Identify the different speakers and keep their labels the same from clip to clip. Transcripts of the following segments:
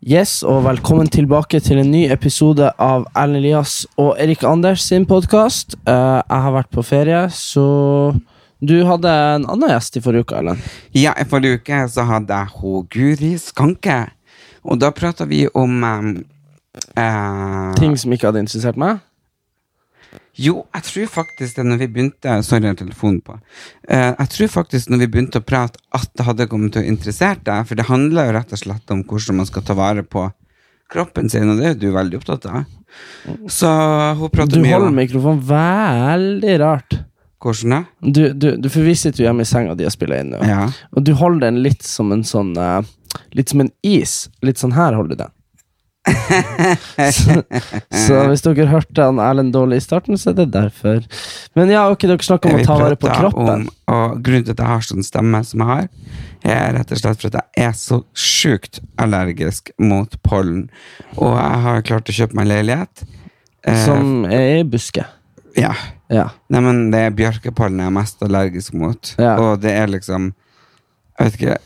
Speaker 1: Yes, og velkommen tilbake til en ny episode av Erlend Elias og Erik Anders sin podkast. jeg har vært på ferie, så du hadde en annen gjest i forrige uke, Erlend.
Speaker 2: Ja, i forrige uke så hadde jeg hun Guri Skanke. Og da prata vi om ehm, eh,
Speaker 1: Ting som ikke hadde interessert meg.
Speaker 2: Jo, jeg tror faktisk det når vi begynte Sorry, jeg har telefonen på. Eh, jeg tror faktisk når vi begynte å prate, at det hadde kommet til å interessere deg. For det handler jo rett og slett om hvordan man skal ta vare på kroppen sin, og det er jo du veldig opptatt av. Så hun
Speaker 1: Mm. Du
Speaker 2: prater mye
Speaker 1: holder
Speaker 2: om
Speaker 1: mikrofonen veldig rart.
Speaker 2: hvordan da?
Speaker 1: Du, du, du for vi sitter jo hjemme i senga di og spiller inn nå,
Speaker 2: Ja.
Speaker 1: og du holder den litt som en sånn eh, Litt som en is. Litt sånn her holder du den. så, så hvis dere hørte han Erlend dårlig i starten, så er det derfor. Men ja, ok, dere snakker om å
Speaker 2: Vi
Speaker 1: ta vare på
Speaker 2: pratet
Speaker 1: kroppen.
Speaker 2: Om, og grunnen til at jeg har sånn stemme som jeg har, er rett og slett for at jeg er så sjukt allergisk mot pollen. Og jeg har klart å kjøpe meg leilighet. Eh,
Speaker 1: Som er i buske.
Speaker 2: Ja.
Speaker 1: Ja.
Speaker 2: Nei, men det er bjørkepollen jeg er mest allergisk mot.
Speaker 1: Ja.
Speaker 2: Og det er liksom Jeg vet ikke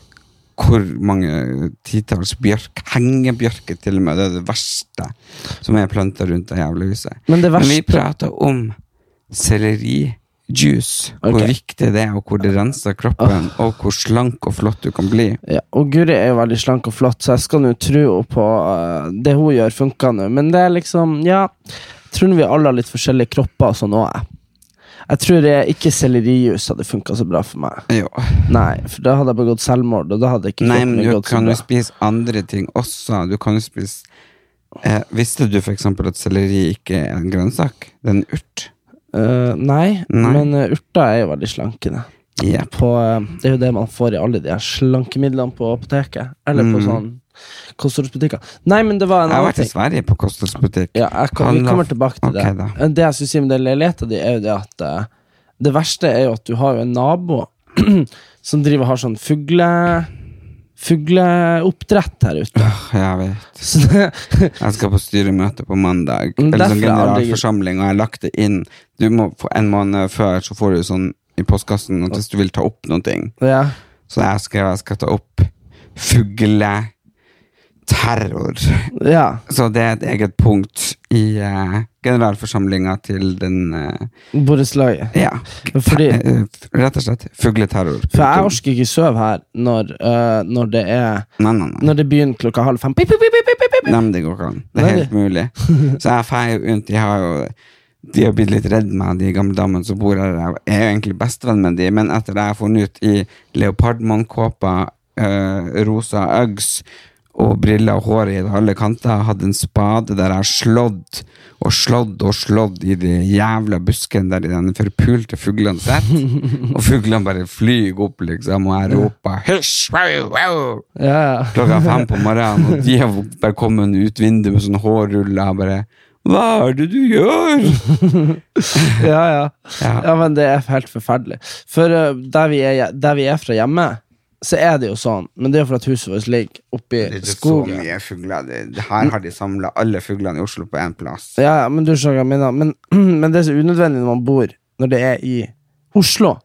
Speaker 2: hvor mange titalls bjørk Hengebjørker, til og med. Det er det verste som er planta rundt det jævla huset.
Speaker 1: Men det
Speaker 2: Men vi
Speaker 1: verste
Speaker 2: prata om sellerijuice.
Speaker 1: Ok. Ah.
Speaker 2: Hvor viktig det er, og hvor det renser kroppen, og hvor slank og flott du kan bli.
Speaker 1: ja, Og Guri er jo veldig slank og flott, så jeg skal nå tro henne på eh, det hun gjør, funker nå. Men det er liksom Ja, jeg tror nå vi alle har litt forskjellige kropper og sånn òg, jeg. Jeg tror jeg ikke sellerijus hadde funka så bra for meg.
Speaker 2: Jo.
Speaker 1: Nei, for da hadde jeg begått selvmord, og da hadde ikke
Speaker 2: Nei,
Speaker 1: kroppen
Speaker 2: men
Speaker 1: min
Speaker 2: du
Speaker 1: gått så
Speaker 2: kan jo
Speaker 1: bra.
Speaker 2: spise andre ting også. Du kan jo spise eh, Visste du f.eks. at selleri ikke er en grønnsak? Det er en urt.
Speaker 1: Eh, nei,
Speaker 2: Nei.
Speaker 1: men eh, urter er jo veldig slankende.
Speaker 2: Jepp.
Speaker 1: På, eh, det er jo det man får i alle de her slankemidlene på apoteket. Eller på
Speaker 2: Mm.
Speaker 1: sånn kostholdsbutikker. Nei, men det var
Speaker 2: Jeg
Speaker 1: en
Speaker 2: har
Speaker 1: annen
Speaker 2: vært i
Speaker 1: ting.
Speaker 2: Sverige på kostholdsbutikk.
Speaker 1: Ja, jeg kom, vi
Speaker 2: Handla-
Speaker 1: kommer tilbake til
Speaker 2: Ok,
Speaker 1: det.
Speaker 2: da.
Speaker 1: Men Det jeg skulle si med den leiligheten din, er jo det at eh, det verste er jo at du har jo en nabo som driver og har sånn fugle... Fugleoppdrett her ute.
Speaker 2: Åh, Jeg vet.
Speaker 1: Så det,
Speaker 2: Jeg skal på styremøte på mandag.
Speaker 1: Men Mm,
Speaker 2: Eller
Speaker 1: derfor
Speaker 2: sånn
Speaker 1: er aldri-
Speaker 2: generalforsamling, og jeg har lagt det inn. Du må få En måned før så får du sånn i postkassen at hvis du vil ta opp noen ting.
Speaker 1: ja.
Speaker 2: Så jeg skrev jeg skal ta opp fugleterror.
Speaker 1: ja.
Speaker 2: Så det er et eget punkt i uh, generalforsamlinga til den eh,
Speaker 1: Borettslaget.
Speaker 2: Ja.
Speaker 1: Fordi-
Speaker 2: te- eh, f- rett og slett fugleterror.
Speaker 1: For jeg orker ikke sove her når, eh, når det er
Speaker 2: Nei, nei, nei.
Speaker 1: Når det begynner klokka halv fem. Pip, pip, pip, pip, pip, pip.
Speaker 2: Nei, men det går ikke an. Det er
Speaker 1: Nei,
Speaker 2: helt mulig. Så jeg feier jo rundt. De har jo De har blitt litt redd meg, de gamle damene som bor her. Jeg er jo egentlig bestevenn med de, men etter det jeg har funnet ut i leopardmannkåpa, øh, rosa Uggs og briller og hår i alle kanter, hadde en spade der jeg har slått og slått og slått i de jævla buskene der i den forpulte fuglene sitter. Og fuglene bare flyr opp, liksom, og jeg roper 'hysj', wow, wow'
Speaker 1: Ja, ja.
Speaker 2: klokka fem på morgenen, og de har bare kommet ut vinduet med sånn hårruller og bare Hva er det du gjør?
Speaker 1: ja, ja.
Speaker 2: Ja.
Speaker 1: Ja, men det er helt forferdelig. For eh, der, vi er, der vi er fra hjemme, så er det jo sånn. Men det er jo for at huset vårt ligger oppi skogen.
Speaker 2: mye fugler. her har de samla alle fuglene i Oslo på én plass.
Speaker 1: Ja, ja, men du skjønner hva jeg mener. Men, men det er så unødvendig når man bor når det er i Oslo,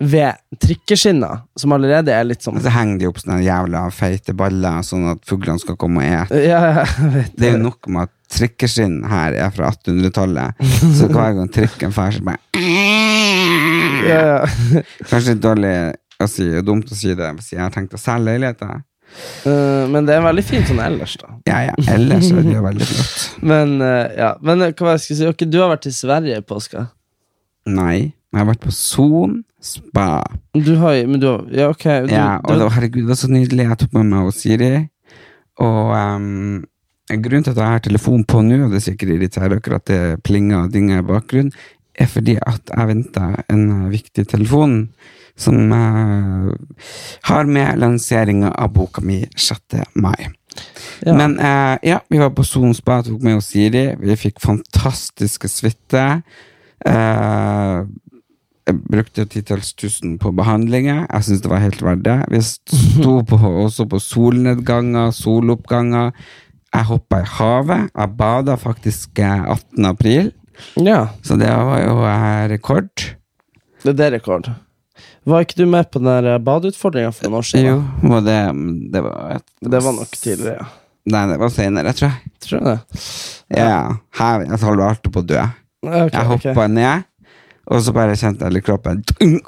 Speaker 1: ved trikkeskinner, som allerede er litt sånn
Speaker 2: Og så henger de opp sånne jævla feite baller, sånn at fuglene skal komme og ete.
Speaker 1: Ja, ja, jeg vet
Speaker 2: Det er jo nok med at trikkeskinn her er fra 1800-tallet, så hver gang trikken drar, så bare
Speaker 1: ja, ja.
Speaker 2: Kanskje litt dårlig å si, og dumt å si det, hvis jeg har tenkt å selge leiligheter.
Speaker 1: Eh, Men det er veldig fint sånn ellers, da.
Speaker 2: Ja, ja, ellers er det jo veldig flott.
Speaker 1: Men eh, ja, men eh, hva var det jeg skulle si? Ok, du har vært i Sverige i påska.
Speaker 2: Nei, men jeg har vært på Son spa.
Speaker 1: Du har, jo- men du har, ja, ok. Du,
Speaker 2: Ja, og
Speaker 1: du,
Speaker 2: det, var- herregud, det var så nydelig. Jeg tok med meg og Siri. Og ehm, grunnen til at jeg har telefon på nå, og det er sikkert irriterer dere at det plinger og dinger i bakgrunnen, er fordi at jeg venter en eh, viktig telefon som eh, har med lanseringa av boka mi 6. mai.
Speaker 1: ja.
Speaker 2: Men eh, ja, vi var på Son spa, tok med oss Siri. Vi fikk fantastiske suite. Eh, jeg brukte titalls tusen på behandlinger. Jeg syns det var helt verdt det. Vi sto på, også på solnedganger, soloppganger. Jeg hoppa i havet. Jeg bada faktisk eh, 18. april,
Speaker 1: ja,
Speaker 2: så det var jo eh, rekord.
Speaker 1: det er det rekord. Var ikke du med på den der badeutfordringa for noen år siden?
Speaker 2: Jo, og det, det var et
Speaker 1: Det var nok tidligere, ja.
Speaker 2: Nei, det var senere, tror jeg.
Speaker 1: Tror du det?
Speaker 2: Ja, her, altså, jeg holdt alltid på å dø.
Speaker 1: Ja, ok,
Speaker 2: Jeg
Speaker 1: ok.
Speaker 2: hoppa ned, og så bare kjente jeg hele kroppen Dung!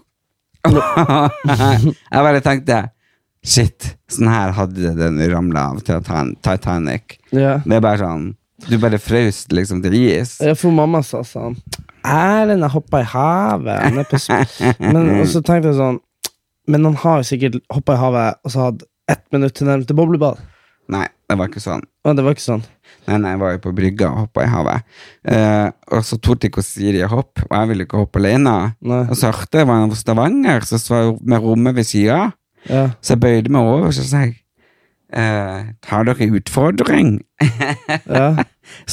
Speaker 2: Jeg bare tenkte Shit, sånn her hadde den ramla av Titan- Titanic.
Speaker 1: Ja.
Speaker 2: Det er bare sånn Du bare frøs liksom til is.
Speaker 1: Ja, for mamma sa sånn Erlend har hoppa i havet. Han er på sp-" men, og så tenkte jeg sånn Men han har jo sikkert hoppa i havet og så hatt ett minutt til nærmeste boblebad.
Speaker 2: Nei, det var ikke sånn.
Speaker 1: Og det var ikke sånn.
Speaker 2: Nei, nei, jeg var jo på brygga og hoppa i havet. Eh, og så torde ikke Siri å hoppe, og jeg ville ikke hoppe alene.
Speaker 1: Nei.
Speaker 2: Og så hørte jeg var fra Stavanger, så var jeg med rommet ved sida.
Speaker 1: Ja.
Speaker 2: Så jeg bøyde meg over så sa jeg, eh, Tar dere utfordring?
Speaker 1: ja.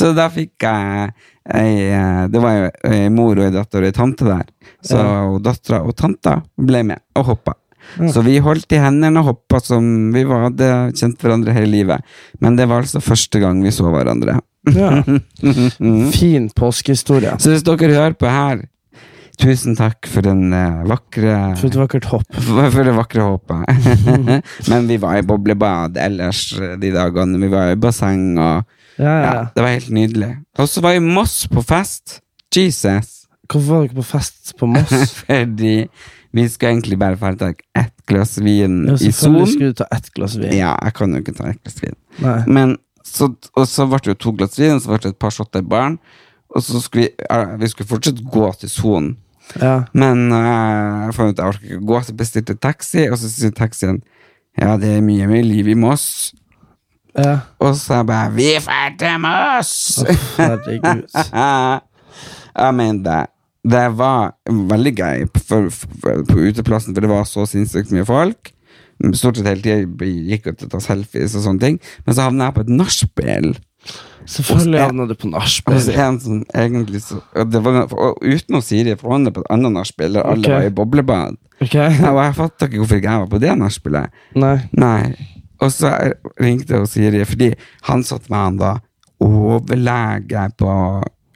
Speaker 2: Så da fikk jeg ei, eh, Det var jo ei mor og ei datter og ei tante der. Så ja. Mm. dattera og tanta ble med og hoppa.
Speaker 1: Ja.
Speaker 2: Så vi holdt i hendene og hoppa som vi var, hadde kjent hverandre hele livet. Men det var altså første gang vi så hverandre.
Speaker 1: ja. Fin påskehistorie.
Speaker 2: Så hvis dere hører på her, tusen takk for den eh, vakre
Speaker 1: For et vakkert hopp.
Speaker 2: for for det vakre håpet. Men vi var i boblebad ellers eh, de dagene. Vi var i basseng, og
Speaker 1: Ja, ja.
Speaker 2: ja, det var helt nydelig. Og så var jeg i Moss på fest. Jesus.
Speaker 1: Hvorfor var dere på fest på Moss?
Speaker 2: Fordi vi skulle egentlig bare få ta ett glass vin
Speaker 1: Ja,
Speaker 2: i
Speaker 1: selvfølgelig
Speaker 2: solen.
Speaker 1: skulle du ta ett glass vin.
Speaker 2: Ja, jeg kan jo ikke ta ett glass vin.
Speaker 1: Nei.
Speaker 2: Men, så, og så ble det jo to glass vin, så ble det et par shotter barn. Og så skulle vi, eh, vi skulle fortsatt gå til sonen.
Speaker 1: Ja.
Speaker 2: Men eh, jeg fant ut at jeg orker ikke gå, så bestilte jeg taxi, og så sier taxien ja, det er mye mer liv i Moss.
Speaker 1: ja.
Speaker 2: Og så jeg bare Vi drar til Moss!
Speaker 1: Herregud.
Speaker 2: jeg mener det. Det var veldig gøy på, for, for, på uteplassen, for det var så sinnssykt mye folk. Stort sett hele tida gikk jeg til å ta selfies og sånne ting. Men så havna jeg på et nachspiel.
Speaker 1: Selvfølgelig
Speaker 2: Og-
Speaker 1: havna du på
Speaker 2: Og så
Speaker 1: nachspiel.
Speaker 2: en som egentlig så, og det var, og Utenom Siri fra Ånda på et annet nachspiel, der alle
Speaker 1: Ok.
Speaker 2: var i boblebad.
Speaker 1: Ok?
Speaker 2: Ja, og jeg fatter ikke hvorfor ikke jeg var på det nachspielet.
Speaker 1: Nei.
Speaker 2: Nei. Og så ringte jeg og Siri, fordi han satt med han da overlege på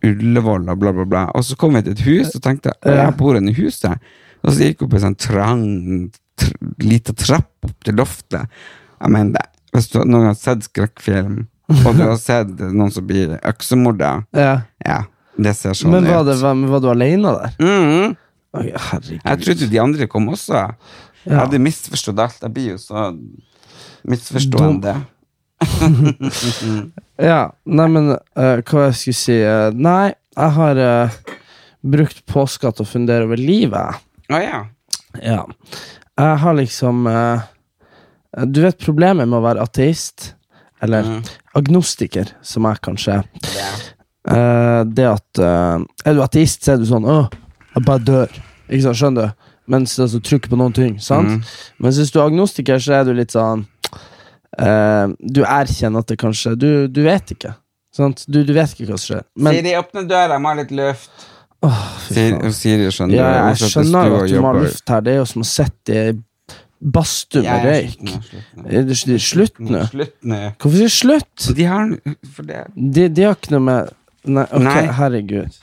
Speaker 2: Ullevål og bla, bla, bla. Og så kom vi til et hus, og tenkte jeg jeg bor inne i huset. Og så gikk vi på en sånn trang, tr lita trapp opp til loftet. Jeg mener, det- hvis du noen har sett skrekkfilm, og du har sett noen som blir øksemorda,
Speaker 1: Ja.
Speaker 2: ja, det ser sånn
Speaker 1: Men var,
Speaker 2: ut.
Speaker 1: det, var, men var du alene der?
Speaker 2: Mhm.
Speaker 1: Oi, herregud.
Speaker 2: Jeg trodde de andre kom også. Jeg
Speaker 1: Ja.
Speaker 2: hadde misforstått alt. Jeg blir jo så misforstående.
Speaker 1: Ja, nei, men eh, hva jeg skulle si eh, Nei, jeg har eh, brukt påska til å fundere over livet.
Speaker 2: Å ja.
Speaker 1: Ja. Jeg har liksom eh, Du vet problemet med å være ateist, eller
Speaker 2: Mm.
Speaker 1: agnostiker, som jeg kanskje er.
Speaker 2: Ja.
Speaker 1: Eh, det at eh, Er du ateist, så er du sånn Åh, jeg bare dør. Ikke sant, skjønner du? Mens altså, du trykker på noen ting. sant? Mens hvis du er agnostiker, så er du litt sånn eh, Du erkjenner at det kanskje Du, du vet ikke. Sant? Du, du vet ikke hva som skjer. Men
Speaker 2: Siri, åpne døra, jeg må ha litt luft.
Speaker 1: åh, fy
Speaker 2: Siri,
Speaker 1: faen.
Speaker 2: Siri sånn, skjønner
Speaker 1: Ja,
Speaker 2: det. Hun
Speaker 1: jeg
Speaker 2: satt i
Speaker 1: skjønner
Speaker 2: stua
Speaker 1: jo
Speaker 2: og
Speaker 1: at du må ha
Speaker 2: jobber.
Speaker 1: luft her. Det er jo som å sitte i badstue
Speaker 2: Ja,
Speaker 1: med
Speaker 2: ja,
Speaker 1: røyk.
Speaker 2: slutt nå,
Speaker 1: Er det ikke- Slutt
Speaker 2: Slutt nå.
Speaker 1: nå.
Speaker 2: Slutt nå.
Speaker 1: Hvorfor sier du slutt?
Speaker 2: De har en- for det.
Speaker 1: De, de har ikke noe med Nei, ok,
Speaker 2: Nei.
Speaker 1: herregud.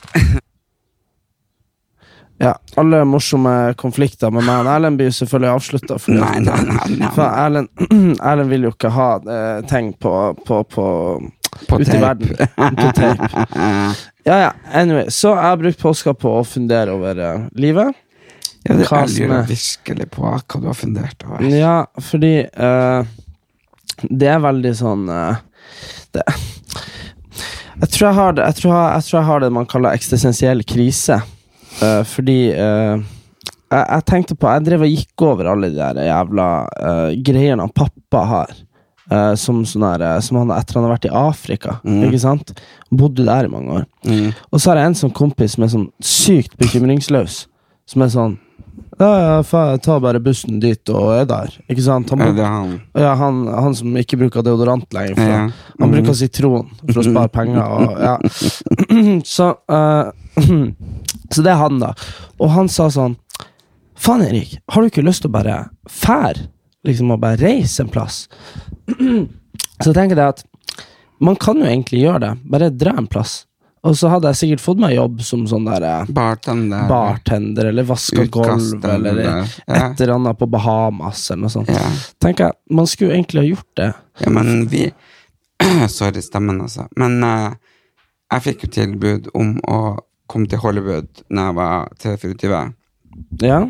Speaker 1: Ja, alle morsomme konflikter med meg og Erlend blir jo selvfølgelig avslutta.
Speaker 2: Nei, nei, nei.
Speaker 1: For
Speaker 2: nei.
Speaker 1: Erlend, Erlend vil jo ikke ha eh, ting på, på, på
Speaker 2: På
Speaker 1: ute i
Speaker 2: tape.
Speaker 1: verden. På tape. Ja, ja. Anyway, så jeg har brukt påska på å fundere over eh, livet.
Speaker 2: Ja, det
Speaker 1: Hva
Speaker 2: jeg
Speaker 1: som
Speaker 2: lurer
Speaker 1: er-
Speaker 2: virkelig på hva du har fundert over.
Speaker 1: Ja, fordi eh, Det er veldig sånn eh, det. Jeg, tror jeg, har det, jeg, tror jeg, jeg tror jeg har det man kaller eksistensiell krise. Eh, fordi eh, jeg, jeg tenkte på Jeg drev og gikk over alle de der jævla eh, greiene han pappa har. eh, som, sånn her, eh, som han etter han har vært i Afrika.
Speaker 2: Mm.
Speaker 1: Ikke sant? Bodde der i mange år.
Speaker 2: Mm.
Speaker 1: Og så har jeg en sånn kompis som er sånn sykt bekymringsløs. Som er sånn Ja, ja, faen, jeg tar bare bussen dit og er der. Ikke sant? Han,
Speaker 2: Ja,
Speaker 1: bruk-
Speaker 2: det er han.
Speaker 1: ja, han, han som ikke bruker deodorant lenger. For
Speaker 2: Ja.
Speaker 1: Han
Speaker 2: Mhm.
Speaker 1: bruker sitron for å spare penger. Og, ja.
Speaker 2: Mhm.
Speaker 1: så, eh, så det er han, da. Og han sa sånn Faen, Erik, har du ikke lyst til å bare fær? Liksom å bare reise en plass? så tenker jeg at man kan jo egentlig gjøre det. Bare dra en plass. Og så hadde jeg sikkert fått meg jobb som sånn der eh,
Speaker 2: Bartender.
Speaker 1: bartender eller vaska
Speaker 2: Utkast
Speaker 1: gulv eller
Speaker 2: ja.
Speaker 1: et eller annet på Bahamas eller noe sånt.
Speaker 2: ja.
Speaker 1: Tenker jeg, Man skulle jo egentlig ha gjort det.
Speaker 2: Ja, men vi Sorry, stemmen, altså. Men eh, jeg fikk jo tilbud om å komme til Hollywood når jeg var 23,
Speaker 1: Ja.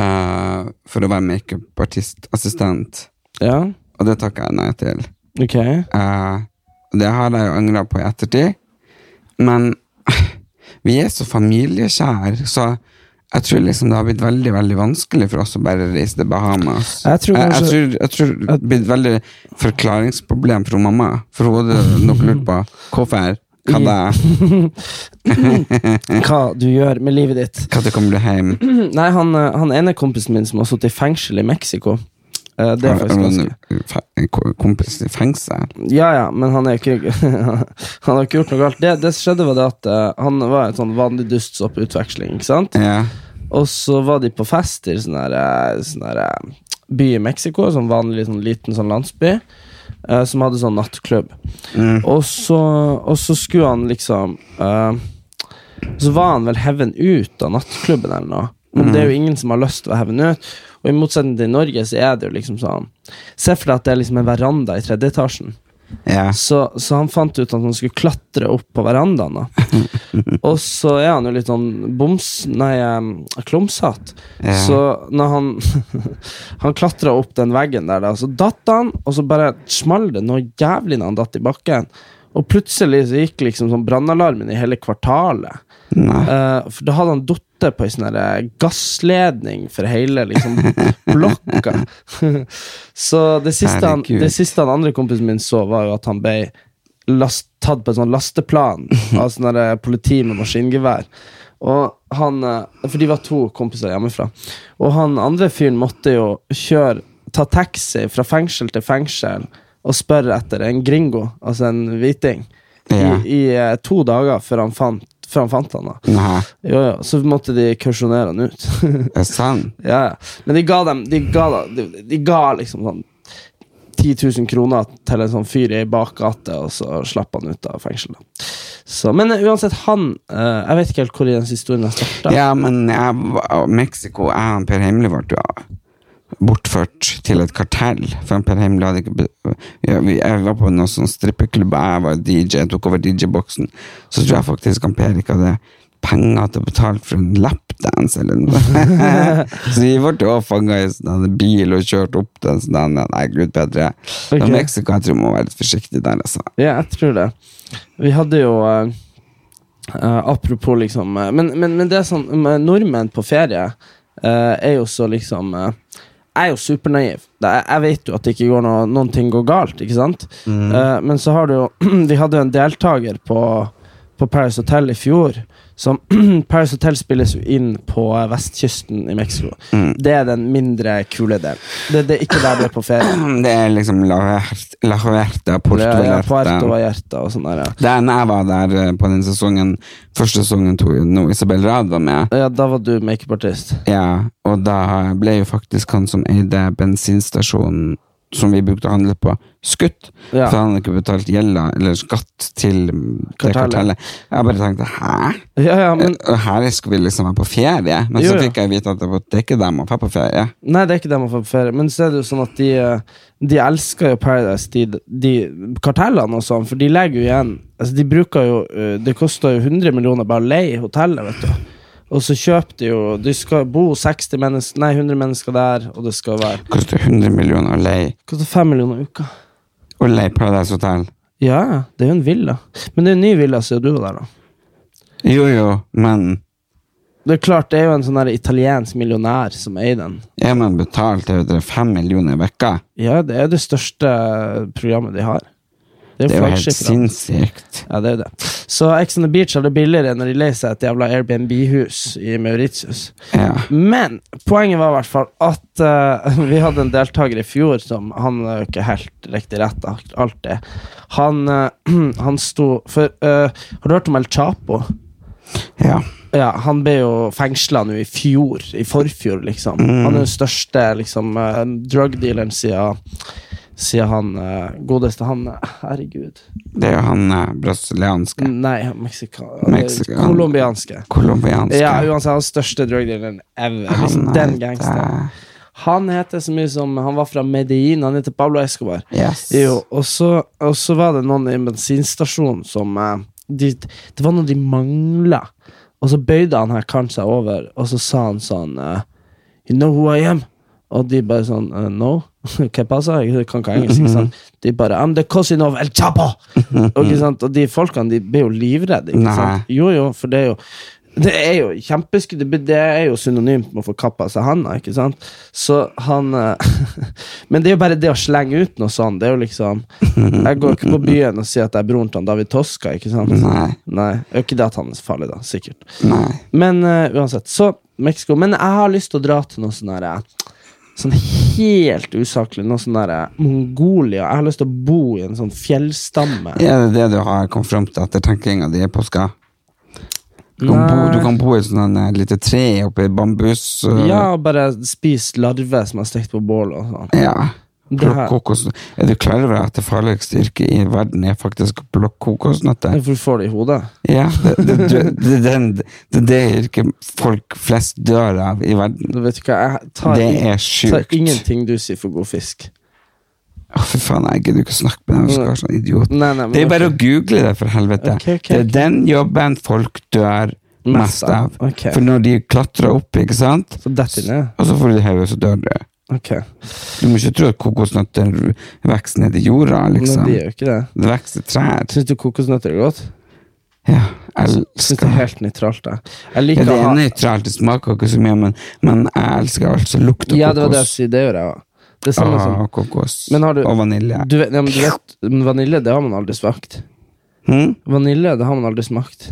Speaker 2: eh, for å være makeupartistassistent.
Speaker 1: Ja.
Speaker 2: Og det takka jeg nei til.
Speaker 1: Ok.
Speaker 2: Eh, og det har jeg jo angra på i ettertid. Men vi er så familieskjær, så jeg tror liksom det har blitt veldig veldig vanskelig for oss å bare reise til Bahamas.
Speaker 1: Jeg tror
Speaker 2: jeg,
Speaker 1: kanskje-
Speaker 2: tror, jeg tror det har blitt veldig forklaringsproblem for hun mamma. For hun hadde nok lurt på hvorfor, hva
Speaker 1: Mm.
Speaker 2: det,
Speaker 1: Hva du gjør med livet ditt.
Speaker 2: hva det kommer du hjem
Speaker 1: Nei, han, eh, han ene kompisen min som har sittet i fengsel i Mexico eh, Det er
Speaker 2: Har-
Speaker 1: faktisk
Speaker 2: har du
Speaker 1: ganske
Speaker 2: en fe- en ko- kompis i fengsel.
Speaker 1: Ja, ja, men han er ikke Han har ikke gjort noe galt. Det, det som skjedde, var det at eh, han var en sånn vanlig dustsopputveksling, ikke sant?
Speaker 2: Ja.
Speaker 1: Og så var de på fest i sånn her, eh, sånn her eh, by i Mexico, sånn vanlig sånn liten sånn landsby, eh, som hadde sånn nattklubb.
Speaker 2: Mm.
Speaker 1: Og så, og så skulle han liksom eh, Så var han vel heven ut av nattklubben eller noe. Men det er jo ingen som har lyst til å heve den ut. Og i motsetning til Norge, så er det jo liksom sånn Se for deg at det er liksom en veranda i tredje etasjen.
Speaker 2: Ja.
Speaker 1: Så, så han fant ut at han skulle klatre opp på verandaen. Da. Og så er han jo litt sånn boms... Nei, um, klumsete.
Speaker 2: Ja.
Speaker 1: Så når han Han klatra opp den veggen der, da, så datt han, og så bare small det noe jævlig når han datt i bakken. Og plutselig så gikk liksom sånn brannalarmen i hele kvartalet.
Speaker 2: Nei.
Speaker 1: Eh, for da hadde han datt på ei sånn her gassledning for hele liksom, blokka. så det siste, han,
Speaker 2: Herregud.
Speaker 1: det siste han andre kompisen min så, var jo at han ble last, tatt på en sånn lasteplan av sånn her politi med maskingevær. Og han, eh, for de var to kompiser hjemmefra. Og han andre fyren måtte jo kjøre, ta taxi fra fengsel til fengsel og spørre etter en gringo, altså en hviting,
Speaker 2: Ja.
Speaker 1: i, i eh, to dager før han fant, før han, fant han da.
Speaker 2: Nei.
Speaker 1: Jo, ja. Så måtte de kursjonere han ut.
Speaker 2: Det er sant.
Speaker 1: ja, ja. Men de ga dem De ga, da- de, de ga liksom sånn 10 000 kroner til en sånn fyr i bakgate, og så slapp han ut av fengselet. Så, men eh, uansett, han eh, Jeg vet ikke helt hvor i den historien jeg starta.
Speaker 2: Ja, men jeg, var- Mexico jeg og Per Heimly ble jo bortført til et kartell. For Per Heimly hadde ikke be- ja, vi- Jeg var på noen sånn strippeklubb, og jeg var DJ, jeg tok over DJ-boksen. Så tror jeg faktisk han Per ikke hadde penger til å betale for en lapdance eller noe. så vi ble jo fanga i sånn en bil og kjørt opp til en sånn en- Nei, gud bedre.
Speaker 1: Ok.
Speaker 2: Men Mexico, jeg tror man må være litt forsiktig der, altså.
Speaker 1: Ja, jeg tror det. Vi hadde jo eh, eh, Apropos liksom eh, men, men, men det er sånn med Nordmenn på ferie eh, er jo så liksom eh, Jeg er jo supernaiv. Det er, jeg vet jo at det ikke går noe, noen ting går galt, ikke sant? Eh, men så har du jo Vi hadde jo en deltaker på, på Paris Hotel i fjor. Som Paris Hotel spilles jo inn på eh, vestkysten i Mexico.
Speaker 2: Mm.
Speaker 1: Det er den mindre kule delen. Det, det er ikke der du er på ferie.
Speaker 2: Det er liksom La Huerta- La Huerta, Porto
Speaker 1: Ja,
Speaker 2: Vallarta.
Speaker 1: Puerto Vallarta og sånn der, ja.
Speaker 2: Det er når jeg var der eh, på den sesongen Første sesongen tog jo nå Isabel Rad var med
Speaker 1: Ja, da var du makeupartist.
Speaker 2: Ja, og da ble jo faktisk han som eide bensinstasjonen Som vi brukte å handle på Skutt
Speaker 1: Ja.
Speaker 2: For han hadde ikke betalt gjelda Eller skatt til mm, det
Speaker 1: Kartellet.
Speaker 2: kartellet Jeg bare tenkte, hæ?
Speaker 1: Ja, ja, men
Speaker 2: og her skal vi liksom være på ferie Men
Speaker 1: Jo,
Speaker 2: så
Speaker 1: jo.
Speaker 2: fikk jeg vite at det, var, det er ikke dem å være på ferie
Speaker 1: Nei, det er ikke det man får på ferie. Men så er det jo sånn at de, eh, de elsker jo Paradise, de, de kartellene og sånn, for de legger jo igjen Altså, de bruker jo eh, Det koster jo 100 millioner bare å leie hotellet, vet du. Og så kjøper de jo De skal bo 60 mennesker Nei, 100 mennesker der, og det skal være
Speaker 2: Koster 100 millioner å leie
Speaker 1: Koster 5 millioner i uka.
Speaker 2: Å leie Paradise Hotel
Speaker 1: Ja, ja. Det er jo en villa. Men det er jo en ny villa siden du var der, da.
Speaker 2: Jo jo, men
Speaker 1: Det er klart, det er jo en sånn der italiensk millionær som eier den.
Speaker 2: Er man betalt til 5 millioner i vekka?
Speaker 1: Ja, det er det største programmet de har. Det
Speaker 2: Det
Speaker 1: er jo
Speaker 2: er jo helt
Speaker 1: flaggskipet. da.
Speaker 2: sinnssykt
Speaker 1: Ja, det er jo det. Så Ex on the Beach er det billigere når de leier seg et jævla Airbnb-hus i Mauritius.
Speaker 2: Ja
Speaker 1: Men poenget var i hvert fall at eh, vi hadde en deltaker i fjor som Han er jo ikke helt riktig rett, da, alltid. Han, eh, han sto For eh, har du hørt om El Chapo?
Speaker 2: Ja.
Speaker 1: Ja, Han ble jo fengsla nå i fjor. I forfjor, liksom. Han er den største liksom, eh, drug-dealeren siden, siden han eh, godeste han eh, Herregud.
Speaker 2: Det er jo han eh, brasilianske.
Speaker 1: Nei, meksika-
Speaker 2: Meksikan-
Speaker 1: Colombianske.
Speaker 2: Colombianske.
Speaker 1: Ja, uansett, han er den største drug-dealeren ever.
Speaker 2: Han
Speaker 1: Liksom,
Speaker 2: er
Speaker 1: den
Speaker 2: et,
Speaker 1: gangsteren.
Speaker 2: eh,
Speaker 1: Han heter så mye som Han var fra Medellin. Han heter Pablo Escobar.
Speaker 2: Yes.
Speaker 1: Jo, og så, og så var det noen i en bensinstasjon som eh, de, Det var noe de mangla. Og så bøyde han her karen seg over, og så sa han sånn eh, You know who I am? Og de bare sånn eh, No? Hva passa? Jeg kan ikke engelsk. ikke sant? De bare I'm the cousin of El Chapo! Og, ikke sant? og de folkene de blir jo livredde. Ikke
Speaker 2: Nei.
Speaker 1: sant? Jo, jo, for det er jo det er jo kjempeskudd, det be- det er jo synonymt med å få kappa seg handa, ikke sant? Så han eh, Men det er jo bare det å slenge ut noe sånt. Det er jo liksom Jeg går ikke på byen og sier at jeg er broren til han David Toska, ikke sant?
Speaker 2: Nei.
Speaker 1: Nei, det er jo ikke det at han er så farlig, da. Sikkert.
Speaker 2: Nei.
Speaker 1: Men eh, uansett, så Mexico. Men jeg har lyst til å dra til noe sånn herre Sånn helt usaklig. Noe sånn herre Mongolia. Jeg har lyst til å bo i en sånn fjellstamme.
Speaker 2: Er det det du har kommet fram til etter tenkinga di i påska? Du kan, bo, du kan bo i et sånt eh, lite tre oppi bambus... eh,
Speaker 1: Ja, og bare spise larve som er stekt på bål og sånn.
Speaker 2: Ja.
Speaker 1: Det her-
Speaker 2: Blokkokos. Er du klar over at det farligste yrket i verden er faktisk blokkokosnøtter?
Speaker 1: Hvorfor får det i hodet?
Speaker 2: Ja, det, det, det, det, er den- det er det yrket folk flest dør av i verden.
Speaker 1: Du vet ikke, hva, jeg tar,
Speaker 2: Det
Speaker 1: ing-
Speaker 2: er
Speaker 1: tar
Speaker 2: sjukt.
Speaker 1: ingenting du sier for god fisk.
Speaker 2: Å, fy faen, jeg gidder ikke å snakke med dem.
Speaker 1: Mm.
Speaker 2: Jeg skal være sånn idiot.
Speaker 1: Nei, nei, men
Speaker 2: Det er bare å google det, for helvete.
Speaker 1: Ok, ok,
Speaker 2: Det er
Speaker 1: ok.
Speaker 2: den jobben folk dør mest av.
Speaker 1: Ok.
Speaker 2: For når de klatrer opp, ikke sant,
Speaker 1: Så dette ned?
Speaker 2: og så får du hodet, så dør du.
Speaker 1: Ok.
Speaker 2: Du må ikke tro at kokosnøtter vokser ned i jorda,
Speaker 1: Men
Speaker 2: liksom.
Speaker 1: de gjør jo ikke det.
Speaker 2: Det vokser trær.
Speaker 1: Syns du kokosnøtter er godt?
Speaker 2: Ja,
Speaker 1: Syns det
Speaker 2: elsker
Speaker 1: er helt nøytralt, jeg. Jeg
Speaker 2: ja,
Speaker 1: liker
Speaker 2: det
Speaker 1: å
Speaker 2: er
Speaker 1: ha
Speaker 2: nøytralt, det smaker ikke så mye, men, men jeg elsker alt som lukter
Speaker 1: Ja, det var det jeg
Speaker 2: kokos.
Speaker 1: sier. Det gjør jeg òg. Det er samme som
Speaker 2: Ah, kokos.
Speaker 1: Men har du-
Speaker 2: Og vanilje.
Speaker 1: du vet, ja, men du vet, men Vanilje, det har man aldri smakt.
Speaker 2: Hm?
Speaker 1: Vanilje, det har man aldri smakt.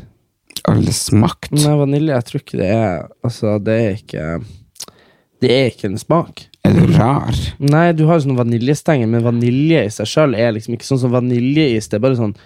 Speaker 2: Alle smakt.
Speaker 1: Nei, vanilje, jeg tror ikke det er Altså, det er ikke Det er ikke en smak.
Speaker 2: Er du rar?
Speaker 1: Nei, du har jo sånne vaniljestenger, men vanilje i seg sjøl er liksom ikke sånn som vaniljeis. Det er bare sånn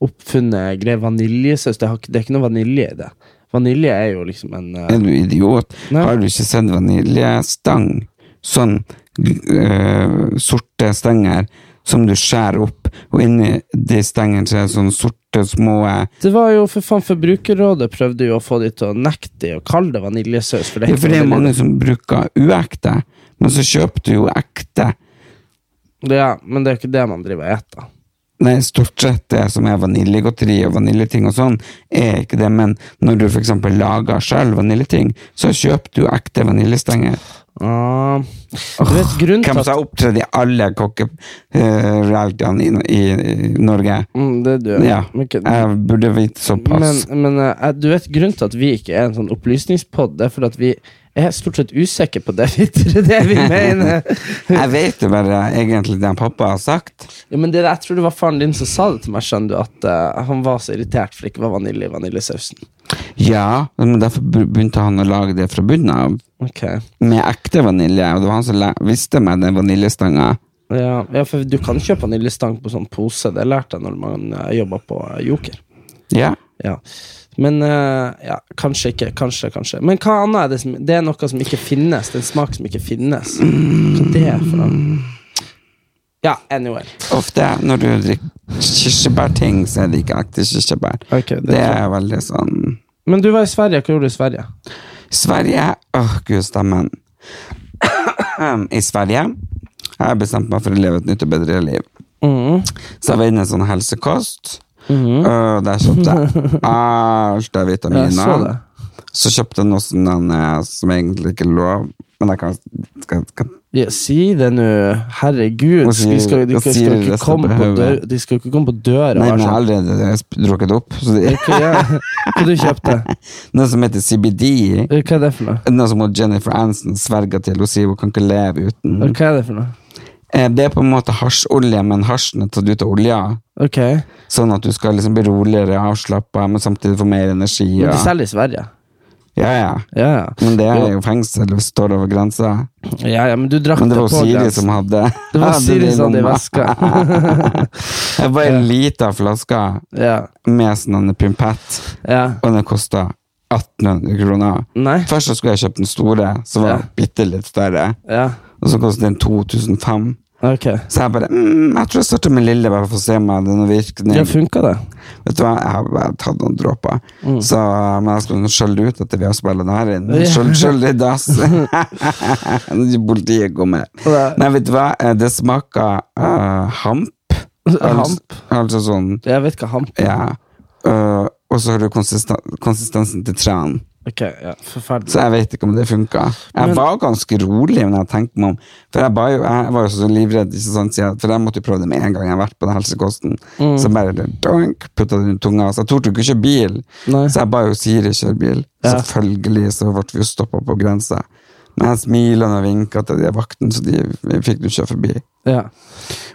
Speaker 1: oppfunnet greie. Vaniljesaus, det, har ikke- det er ikke noe vanilje i det. Vanilje er jo liksom en eh,
Speaker 2: Er du idiot?
Speaker 1: Nei.
Speaker 2: Har du ikke sett vaniljestang? Sånn øh, sorte stenger som du skjærer opp, og inni de stengene så er det sånne sorte små
Speaker 1: Det var jo for faen Forbrukerrådet prøvde jo å få de til å nekte de å kalle det vaniljesaus. For det
Speaker 2: Ja,
Speaker 1: er
Speaker 2: for
Speaker 1: ikke
Speaker 2: det er
Speaker 1: vanilje.
Speaker 2: mange som bruker uekte, men så kjøper du jo ekte.
Speaker 1: Ja, men det er jo ikke det man driver og eter.
Speaker 2: Nei, stort sett det som er vaniljegodteri og vaniljeting og sånn, er ikke det, men når du for eksempel lager selv vaniljeting, så kjøper du ekte vaniljestenger.
Speaker 1: Ah, du vet, grunnen til
Speaker 2: Hvem
Speaker 1: at
Speaker 2: som har opptredd i alle kokkerealityene i, i, i Norge.
Speaker 1: mm, Det du
Speaker 2: Ja, Eh,
Speaker 1: Men ikke-
Speaker 2: jeg burde vite såpass.
Speaker 1: Men, men eh, du vet grunnen til at vi ikke er en sånn opplysningspod, det er fordi at vi er stort sett usikre på det vi, det vi mener.
Speaker 2: jeg vet jo bare egentlig det pappa har sagt.
Speaker 1: Ja, men det, jeg tror det var faren din som sa det til meg, skjønner du, at eh, han var så irritert for det ikke var vanilje i vaniljesausen.
Speaker 2: Ja, men derfor begynte han å lage det fra bunnen av,
Speaker 1: Ok.
Speaker 2: med ekte vanilje, og det var han som læ- visste meg den vaniljestangen.
Speaker 1: Ja, ja, for du kan kjøpe vaniljestang på sånn pose, det lærte jeg når man uh, jobba på eh, Joker.
Speaker 2: Ja,
Speaker 1: Ja. Men eh, ja, kanskje ikke. Kanskje, kanskje. Men hva annet er det som Det er noe som ikke finnes. Det er en smak som ikke finnes. Hva det er for noe? Ja, anyway.
Speaker 2: ofte når du drikker kirsebærting, så er det ikke ekte kirsebær.
Speaker 1: Ok, det er
Speaker 2: det er veldig sånn
Speaker 1: Men du var i Sverige. Hva gjorde du i Sverige?
Speaker 2: Sverige Åh, gud, stemmen. I Sverige har jeg bestemt meg for å leve et nytt og bedre liv.
Speaker 1: Mm.
Speaker 2: Så jeg var inne i en sånn helsekost. Og der kjøpte jeg alt av
Speaker 1: Mhm. Jeg så
Speaker 2: vitaminer.
Speaker 1: det.
Speaker 2: så kjøpte jeg noe sånn eh, som egentlig ikke er lov, men jeg kan, skal, skal
Speaker 1: Ja, si det nå. Herregud.
Speaker 2: Hva
Speaker 1: Skal, de skal, de
Speaker 2: sier- hva
Speaker 1: skal,
Speaker 2: sier
Speaker 1: skal ikke
Speaker 2: resten
Speaker 1: komme
Speaker 2: på
Speaker 1: på dør,
Speaker 2: hodet?
Speaker 1: de skal ikke komme på døra. og
Speaker 2: Nei, men jeg
Speaker 1: være
Speaker 2: har
Speaker 1: sånn,
Speaker 2: allerede sp- drukket opp. Så det er
Speaker 1: Hva ja, hva du kjøpte
Speaker 2: noe som heter CBD.
Speaker 1: Hva er det for noe?
Speaker 2: Noe som hun Jennifer Aniston sverger til. Hun sier hun kan ikke leve uten.
Speaker 1: Hva er det for noe?
Speaker 2: Eh, Det er på en måte hasjolje, men hasjen er tatt ut av olja.
Speaker 1: Ok.
Speaker 2: Sånn at du skal liksom bli roligere, avslappa, men samtidig få mer energi.
Speaker 1: Men
Speaker 2: Og...
Speaker 1: de selger i Sverige.
Speaker 2: Ja, ja.
Speaker 1: Ja, ja.
Speaker 2: Men det er jo fengsel hvis du står over grensa.
Speaker 1: ja, ja men du drakk
Speaker 2: Mm. Men det
Speaker 1: det
Speaker 2: var
Speaker 1: på
Speaker 2: Siri
Speaker 1: grensen.
Speaker 2: som hadde
Speaker 1: Det var
Speaker 2: hadde
Speaker 1: Siri
Speaker 2: i
Speaker 1: som hadde i
Speaker 2: lomma.
Speaker 1: veska.
Speaker 2: Det var en lita flaske
Speaker 1: ja.
Speaker 2: med sånn en pimpett,
Speaker 1: ja.
Speaker 2: og den kosta 1800 kroner.
Speaker 1: Nei.
Speaker 2: Først så skulle jeg kjøpt den store, som var
Speaker 1: Ja.
Speaker 2: bitte litt større.
Speaker 1: Ja.
Speaker 2: Og så kostet den 2005.
Speaker 1: Ok. Ok.
Speaker 2: Så jeg bare mm, Jeg tror jeg starter med lille, bare for å se om jeg hadde noen virkning.
Speaker 1: Ja, funka det?
Speaker 2: Vet du hva, jeg har bare tatt noen dråper. Så men jeg skulle skjølle ut etter vi har spilt den her inn.
Speaker 1: Mm. Ja.
Speaker 2: Skjøll, skjøll i dass! Politiet kommer.
Speaker 1: Det-
Speaker 2: Nei, vet du hva, Eh, det smaker eh, hamp. Al-
Speaker 1: Hamp?
Speaker 2: Altså sånn
Speaker 1: Jeg vet hva hamp er.
Speaker 2: Ja. Eh, og så har du konsisten konsistensen til tran.
Speaker 1: Ok, ja, forferdelig.
Speaker 2: Så jeg vet ikke om det funka. Jeg
Speaker 1: Men-
Speaker 2: var ganske rolig når jeg tenkte meg om. For jeg, ba jo, jeg var jo så livredd, ikke sant, sier jeg, for jeg måtte jo prøve det med en gang jeg har vært på den helsekosten.
Speaker 1: Mm.
Speaker 2: Så bare donk, putta det under tunga. Så jeg torde jo ikke kjøre bil.
Speaker 1: Nei.
Speaker 2: Så jeg ba jo Siri kjøre bil.
Speaker 1: Ja.
Speaker 2: Selvfølgelig så ble vi jo stoppa på grensa. Men jeg smilte og vinka til de vaktene, så de vi fikk jo kjøre forbi.
Speaker 1: Ja.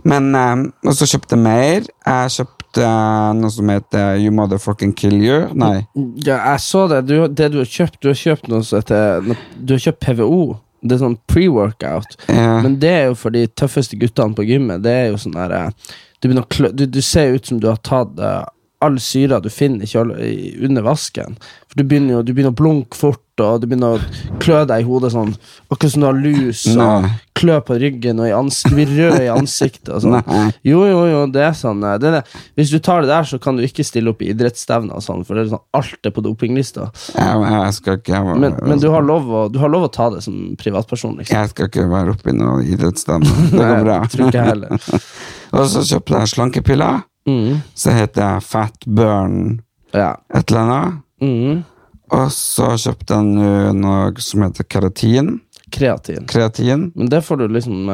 Speaker 2: Men, eh, Og så kjøpte jeg mer. Jeg kjøpte eh, noe som heter You Motherfucking Kill You. Nei.
Speaker 1: ja, jeg så det. Du, det du har kjøpt, du har kjøpt noe som heter Du har kjøpt PVO. Det er sånn pre-workout.
Speaker 2: eh,
Speaker 1: Men det er jo for de tøffeste guttene på gymmet. Det er jo sånn der eh, Du, begynner å klø du, du ser ut som du har tatt eh, all syra du finner i kjøl i, under vasken. For du begynner jo du begynner å blunke fort, og du begynner å klø deg i hodet sånn. Akkurat som du har lus, og
Speaker 2: Nei.
Speaker 1: klø på ryggen, og i ans du blir rød i ansiktet. Og sånn.
Speaker 2: Nei.
Speaker 1: Jo, jo, jo, det er sånn eh, det er det. Hvis du tar det der, så kan du ikke stille opp i idrettsstevner og sånn, for det er sånn, alt er på dopinglista.
Speaker 2: Jeg, jeg skal ikke jeg, var-
Speaker 1: Men, men du, har lov å, du har lov å ta det som privatperson, liksom.
Speaker 2: Jeg skal ikke være oppe i noen idrettsstemme. Det går bra.
Speaker 1: Nei, jeg tror ikke jeg heller.
Speaker 2: Og så kjøpte jeg slankepiller.
Speaker 1: Mm,
Speaker 2: Så heter jeg Fat Burn
Speaker 1: ja.
Speaker 2: et eller annet.
Speaker 1: Mm.
Speaker 2: Og så kjøpte jeg nå noe som heter keratin.
Speaker 1: Kreatin.
Speaker 2: Kreatin.
Speaker 1: Men det får du liksom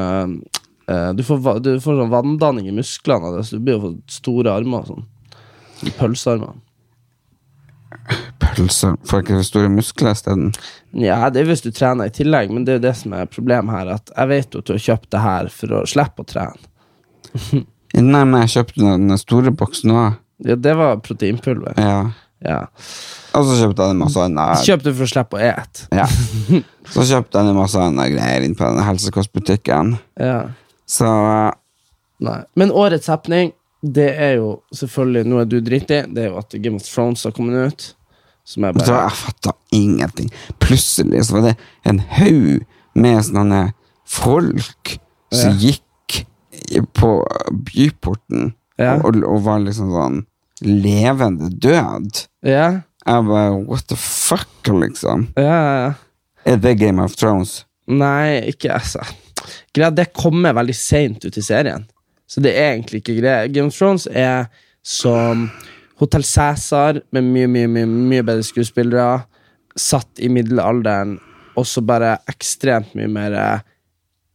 Speaker 1: eh, eh, Du får, va- du får sånn vanndanning i musklene. av det, Så du blir jo for store armer og sånn. Sånn Pølsearmer.
Speaker 2: Pølse. Får ikke store muskler isteden.
Speaker 1: Ja, det er hvis du trener i tillegg, men det er jo det som er problemet her. At jeg vet jo at du har kjøpt det her for å slippe å trene.
Speaker 2: Nei, men jeg kjøpte den den store boksen òg.
Speaker 1: Ja, det var proteinpulver.
Speaker 2: Ja.
Speaker 1: Ja.
Speaker 2: Og så kjøpte jeg en masse annet.
Speaker 1: Kjøp det for å slippe å ete.
Speaker 2: Ja. Så kjøpte jeg en masse annet greier inn på den helsekostbutikken.
Speaker 1: Ja.
Speaker 2: Så eh,
Speaker 1: Nei. Men årets happening, det er jo selvfølgelig noe du driter i. Det er jo at Game of Thrones har kommet ut. Som er
Speaker 2: Vet du hva,
Speaker 1: bare
Speaker 2: jeg fatta ingenting. Plutselig så var det en haug med sånne folk som gikk i- på byporten
Speaker 1: Ja.
Speaker 2: og, og var liksom sånn levende død.
Speaker 1: Ja,
Speaker 2: Jeg bare What the fuck, liksom?
Speaker 1: ja, ja. ja.
Speaker 2: Er det Game of Thrones?
Speaker 1: Nei, ikke altså. Greia, det kommer veldig seint ut i serien. Så det er egentlig ikke greia. Game of Thrones er som Hotell Cæsar, med mye, mye, mye, mye bedre skuespillere, satt i middelalderen, og så bare ekstremt mye mer eh,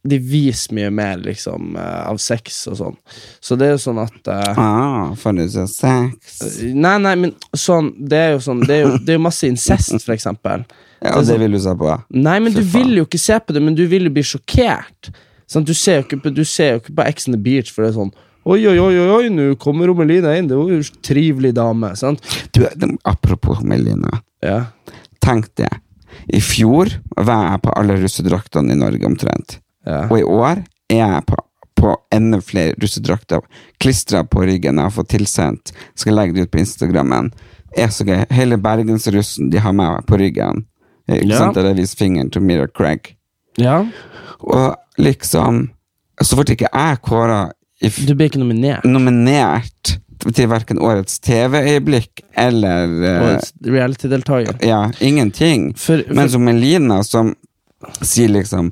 Speaker 1: De viser mye mer, liksom, eh, av sex og sånn. Så det er jo sånn at eh,
Speaker 2: Ah, for det er sex.
Speaker 1: Nei, nei, men sånn Det er jo sånn Det er jo, det er jo masse incest, for eksempel.
Speaker 2: Ja, det vil du se på.
Speaker 1: Nei, men
Speaker 2: Fy
Speaker 1: du
Speaker 2: faen.
Speaker 1: vil jo ikke se på det, men du vil jo bli sjokkert. Sant? du, ser jo ikke på, du ser jo ikke på Ex on the Beach, for det er sånn Oi, oi, oi, oi, oi nå kommer Romelina inn. Det var jo en trivelig dame. Sant?
Speaker 2: Du, det- apropos Melina.
Speaker 1: Ja.
Speaker 2: Tenk det. I fjor var jeg på alle russedraktene i Norge omtrent.
Speaker 1: Ja.
Speaker 2: Og i år er jeg på, på enda flere russedrakter klistra på ryggen jeg har fått tilsendt. Skal legge det ut på Instagrammen. Er så gøy. Hele bergensrussen de har meg på ryggen. Eh, Ikke
Speaker 1: Ja.
Speaker 2: sant? Der jeg viser fingeren til Mira Craig.
Speaker 1: ja.
Speaker 2: Og liksom Så ble ikke jeg kåra
Speaker 1: Du blir ikke nominert.
Speaker 2: nominert til verken årets TV-øyeblikk eller eh,
Speaker 1: Årets reality-deltaker.
Speaker 2: ja, ingenting.
Speaker 1: For, for
Speaker 2: Men som Melina som sier liksom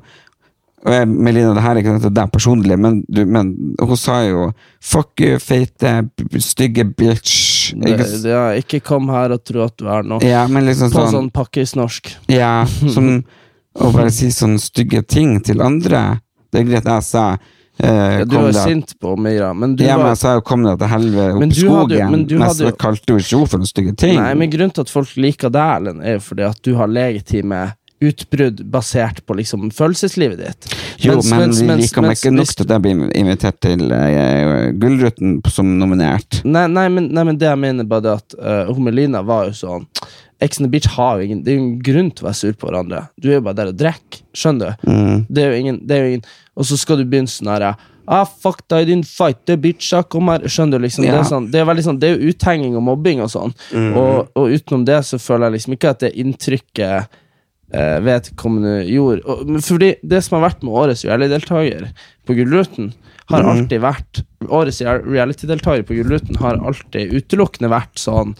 Speaker 2: og jeg, Melina, det her er ikke noe til deg personlig, men, du, men hun sa jo 'fuck you, feite, b- stygge bitch'.
Speaker 1: det,
Speaker 2: Ikke, s-
Speaker 1: det, eh, ja, ikke kom her og tro at du er noe.
Speaker 2: ja, men liksom
Speaker 1: På sånn
Speaker 2: sånn,
Speaker 1: pakkisnorsk.
Speaker 2: Ja, som å bare si sånne stygge ting til andre. Det er greit jeg sa eh,
Speaker 1: Ja, du
Speaker 2: kom
Speaker 1: var
Speaker 2: deg-
Speaker 1: sint på Mira, men du
Speaker 2: ja, men
Speaker 1: var
Speaker 2: jeg sa jo 'kom deg til helvete
Speaker 1: Men
Speaker 2: opp
Speaker 1: du
Speaker 2: i
Speaker 1: hadde jo-
Speaker 2: skogen',
Speaker 1: men du
Speaker 2: men
Speaker 1: hadde
Speaker 2: så
Speaker 1: jo-
Speaker 2: kalte hun ikke henne for noen stygge ting.
Speaker 1: Nei, men grunnen til at folk liker deg, Erlend, er jo fordi at du har legitime utbrudd basert på liksom følelseslivet ditt.
Speaker 2: Jo,
Speaker 1: Mens-
Speaker 2: men
Speaker 1: mens-
Speaker 2: vi
Speaker 1: mens-
Speaker 2: liker meg
Speaker 1: mens-
Speaker 2: ikke nok
Speaker 1: hvis-
Speaker 2: til at jeg blir invitert til eh, Gullruten som nominert.
Speaker 1: Nei, nei, men, nei, men det jeg mener bare det at eh, Homelina var jo sånn Ex on the Beach har jo ingen Det er jo ingen grunn til å være sur på hverandre. Du er jo bare der og drikker. Skjønner du?
Speaker 2: Mm.
Speaker 1: Det er jo ingen, det er jo ingen Og så skal du begynne sånn her Ah, fuck deg, din fighter, bitcha, kom her. Skjønner du, liksom. Det,
Speaker 2: Ja. Mm.
Speaker 1: er sånn, det, er veldig sånn, det er jo uthenging og mobbing og sånn. Og, og utenom det så føler jeg liksom ikke at det inntrykket eh, vedkommende gjorde. Og, men fordi det som har vært med årets reality-deltaker på Gullruten, har
Speaker 2: Mhm.
Speaker 1: alltid vært Årets real- reality-deltaker på Gullruten har alltid utelukkende vært sånn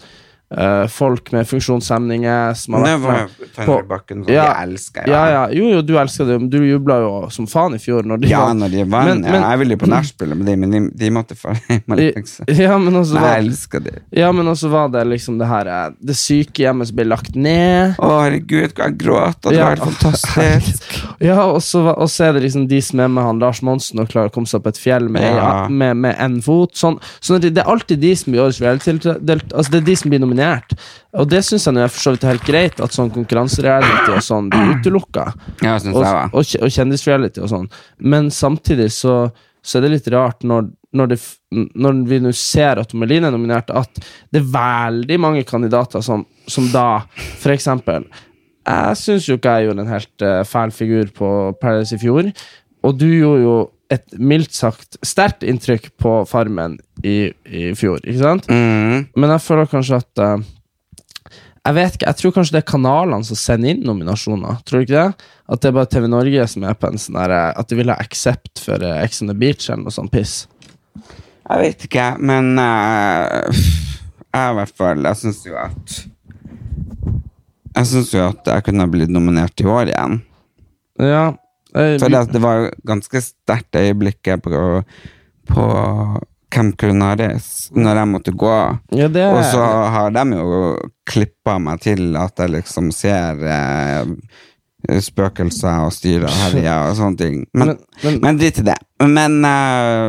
Speaker 1: eh, folk med funksjonshemninger som har
Speaker 2: Det
Speaker 1: vært med.
Speaker 2: var Fenrir Bakken, som
Speaker 1: Ja.
Speaker 2: jeg elsker.
Speaker 1: Ja, ja. Jo, jo, du elsker det, men du jubla jo som faen i fjor. Når de
Speaker 2: Ja,
Speaker 1: vant.
Speaker 2: når de vant.
Speaker 1: Men- men-
Speaker 2: ja, jeg ville jo på nachspielet med dem, men de, de måtte fare hjem og legge seg.
Speaker 1: ja, men også
Speaker 2: Nei, jeg
Speaker 1: var,
Speaker 2: elsker det.
Speaker 1: ja, men også var det liksom det her eh, Det sykehjemmet som ble lagt ned.
Speaker 2: Å, herregud, hva jeg gråt. og Det
Speaker 1: Ja.
Speaker 2: var helt fantastisk.
Speaker 1: Ja, og så, var- og så er det liksom de som er med han Lars Monsen og klarer å komme seg opp et fjell med,
Speaker 2: Ja.
Speaker 1: med, med en fot. Sånn, sånn at det det er alltid de som blir årets realitydelt- Altså det er de som blir nominert. Og det syns jeg nå er for så vidt helt greit, at sånn konkurransereality og sånn blir utelukka.
Speaker 2: Ja, synes jeg
Speaker 1: og,
Speaker 2: var.
Speaker 1: og, kje- og kjendisreality og sånn. Men samtidig så, så er det litt rart når, når, det, f- når vi nå ser at Melina er nominert, at det er veldig mange kandidater som, som da For eksempel Jeg syns jo ikke jeg gjorde en helt eh, fæl figur på Paradise i fjor, og du gjorde jo et mildt sagt sterkt inntrykk på Farmen i, i fjor, ikke sant?
Speaker 2: Mm.
Speaker 1: Men jeg føler kanskje at eh, Jeg vet ikke, jeg tror kanskje det er kanalene som sender inn nominasjoner. Tror du ikke det? At det er bare TV Norge som er på en sånn derre At de vil ha accept for eh, Ex on the Beach eller noe sånt piss.
Speaker 2: Jeg vet ikke, men eh, Jeg i hvert fall Jeg syns jo at Jeg syns jo at jeg kunne ha blitt nominert i år igjen.
Speaker 1: Ja. eh,
Speaker 2: For det, det var jo ganske sterkt øyeblikket på, på Camp Culinaris når jeg måtte gå.
Speaker 1: ja, det
Speaker 2: Og så har de jo klippa meg til at jeg liksom ser eh, spøkelser og styrer og herjer og sånne ting. Men,
Speaker 1: Men- men-
Speaker 2: men drit i det. Men eh,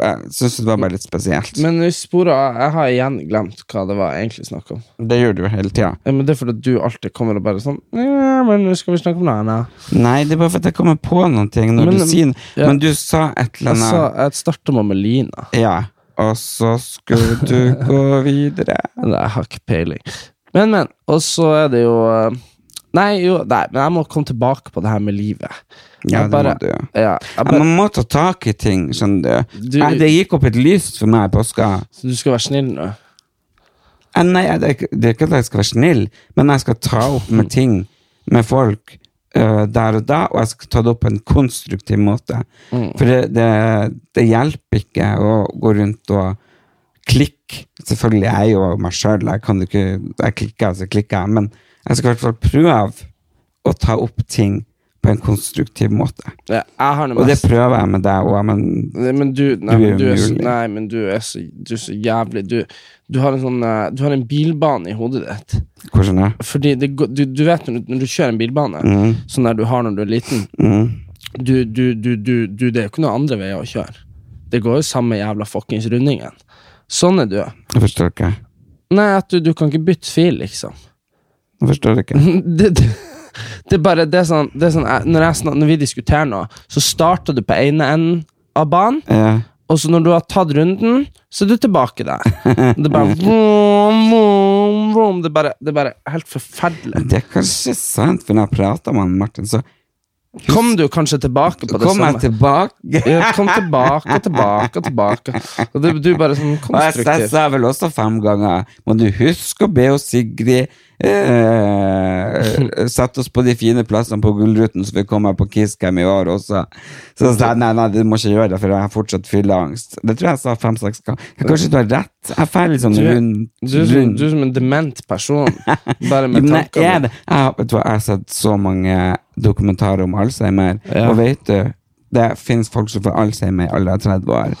Speaker 2: jeg syns det var bare litt spesielt.
Speaker 1: Men vi sporer av. Jeg har igjen glemt hva det var egentlig snakk om.
Speaker 2: det gjør du jo hele tida.
Speaker 1: Ja, men Det er fordi du alltid kommer og bare sånn Ja, men nå skal vi snakke om det her, nå».
Speaker 2: Nei, det er bare for at jeg kommer på noen ting når
Speaker 1: Men-
Speaker 2: du sier noe.
Speaker 1: ja.
Speaker 2: Men eh, du sa et eller
Speaker 1: Jeg
Speaker 2: annet.
Speaker 1: sa jeg starta med Melina.
Speaker 2: Ja. Og så skulle du gå videre.
Speaker 1: Nei, jeg har ikke peiling. Men, men. Og så er det jo eh, Nei, jo, nei, men jeg må komme tilbake på det her med livet.
Speaker 2: Ja,
Speaker 1: Jeg
Speaker 2: det
Speaker 1: bare-
Speaker 2: må du. jo.
Speaker 1: Ja, jeg
Speaker 2: Ja,
Speaker 1: bare,
Speaker 2: man må ta tak i ting, skjønner du.
Speaker 1: Du-
Speaker 2: Nei, det gikk opp et lys for meg i påska.
Speaker 1: så du skal være snill nå?
Speaker 2: Eh, Nei, det er, ikke, det er ikke at jeg skal være snill, men jeg skal ta opp med ting med folk eh, der og da, og jeg skal ta det opp på en konstruktiv måte. For det, det, det hjelper ikke å gå rundt og klikke. Selvfølgelig jeg er jeg jo meg sjøl, jeg kan jo ikke Jeg klikker, så klikker jeg, men jeg skal i hvert fall prøve å ta opp ting på en konstruktiv måte.
Speaker 1: Ja, Jeg har det
Speaker 2: Og det
Speaker 1: mest.
Speaker 2: prøver jeg med deg òg, men
Speaker 1: Nei, Men du, nei,
Speaker 2: Du er
Speaker 1: men du, er, så-
Speaker 2: umulig.
Speaker 1: nei, men du er så, du er så jævlig du, du, har en sånn, eh, du har en bilbane i hodet ditt.
Speaker 2: hvordan er det?
Speaker 1: Fordi det, går- du, du vet når du, når du kjører en bilbane,
Speaker 2: Mm,
Speaker 1: sånn der du har når du er liten
Speaker 2: mm.
Speaker 1: du, du, du, du, du, Det er jo ikke noen andre veier å kjøre. Det går jo samme jævla fuckings rundingen. Sånn er du.
Speaker 2: Jeg forstår ikke.
Speaker 1: Nei, at du, du kan ikke bytte fil, liksom.
Speaker 2: Jeg forstår ikke.
Speaker 1: det, det, det er bare det er sånn, det er sånn jeg, når, jeg, snak- når vi diskuterer nå, så starter du på ene enden av banen,
Speaker 2: Ja.
Speaker 1: og så når du har tatt runden, så er du tilbake der. Det er bare vroom, vroom, vroom. Det er bare, det er bare helt forferdelig.
Speaker 2: Det er kanskje sant, for når jeg prater med han Martin, så
Speaker 1: Kom du kanskje tilbake på det
Speaker 2: kom jeg
Speaker 1: samme?
Speaker 2: tilbake.
Speaker 1: Ja, kom tilbake, tilbake, tilbake. Og det, du er bare sånn
Speaker 2: Og jeg, jeg
Speaker 1: konstruktiv.
Speaker 2: sa vel også fem ganger Må du huske å be oss Sigrid eh, sette oss på de fine plassene på Gullruten, så vi kommer på Kisscam i år også. Så jeg sa jeg nei, nei, du må ikke gjøre det, for jeg har fortsatt fylleangst. Det tror jeg jeg sa fem-seks ganger. Men Kanskje du har rett? Jeg er ferdig sånn
Speaker 1: Du-
Speaker 2: rund.
Speaker 1: Du er, som,
Speaker 2: rund.
Speaker 1: du er som en dement person, bare med
Speaker 2: Men jeg er
Speaker 1: tankene.
Speaker 2: det. Jeg, har- vet du hva, jeg har sett så mange dokumentarer om Alzheimer,
Speaker 1: Ja.
Speaker 2: og vet du, det finnes folk som får Alzheimer i alder av 30 år.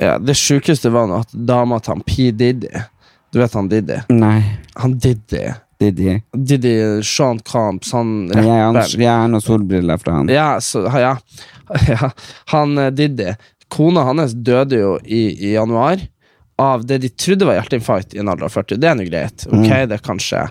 Speaker 1: Ja, det sjukeste var nå at dama til han P. Diddy Du vet han Diddy?
Speaker 2: Nei,
Speaker 1: Han Diddy
Speaker 2: Didi.
Speaker 1: Diddy Sean Camps, han
Speaker 2: Jeg har ans-
Speaker 1: rapperen
Speaker 2: jeg har noen solbriller fra han.
Speaker 1: ja, så, ha- ja. ja, han eh, Diddy Kona hans døde jo i, i januar av det de trodde var hjerteinfarkt i en alder av 40. Det er nå greit, ok, det kan skje.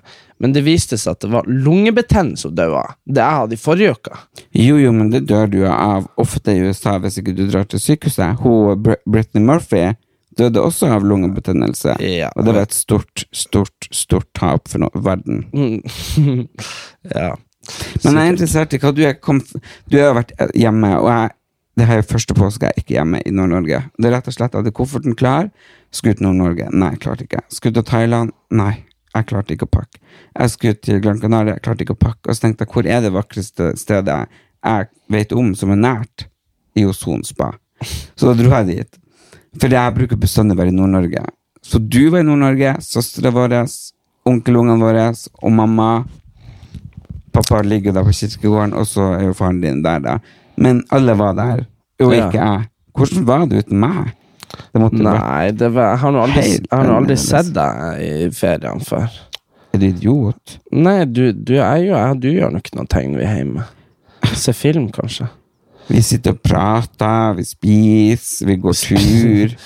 Speaker 1: Men det viste seg at det var lungebetennelse hun døde av. Det jeg hadde i forrige uke.
Speaker 2: Jo, jo, men det dør du jo av ofte i USA hvis ikke du drar til sykehuset. Hun, Br Britney Murphy døde også av lungebetennelse.
Speaker 1: Ja.
Speaker 2: Og det var et stort, stort, stort tap for no verden.
Speaker 1: Mm. ja.
Speaker 2: Men jeg er interessert i hva du er kom, Du har jo vært hjemme, og jeg, det her er første påske jeg ikke er hjemme i Nord-Norge. Det er rett og slett at jeg hadde kofferten klar. Skulle til Nord-Norge? Nei, klarte ikke. Skulle til Thailand? Nei. Jeg klarte ikke å pakke. Jeg skulle til Gran Canaria, jeg klarte ikke å pakke. Og så tenkte jeg, hvor er det vakreste stedet jeg- jeg vet om som er nært? I Ozon spa. Så da dro jeg dit. For jeg bruker bestandig å være i Nord-Norge. Så du var i Nord-Norge, søstera vår, onkelungene våre og mamma. Pappa ligger da på kirkegården, og så er jo faren din der, da. Men alle var der, og
Speaker 1: Ja.
Speaker 2: ikke jeg. Hvordan var det uten meg? Det måtte være
Speaker 1: Nei, det var, jeg har nå aldri,
Speaker 2: Helt
Speaker 1: jeg har nå aldri
Speaker 2: annerledes.
Speaker 1: sett deg i feriene før.
Speaker 2: Er du idiot?
Speaker 1: Nei, du, du er jo jeg, du gjør nok noen ting vi er hjemme. Se film, kanskje.
Speaker 2: Vi sitter og prater, vi spiser, vi går tur.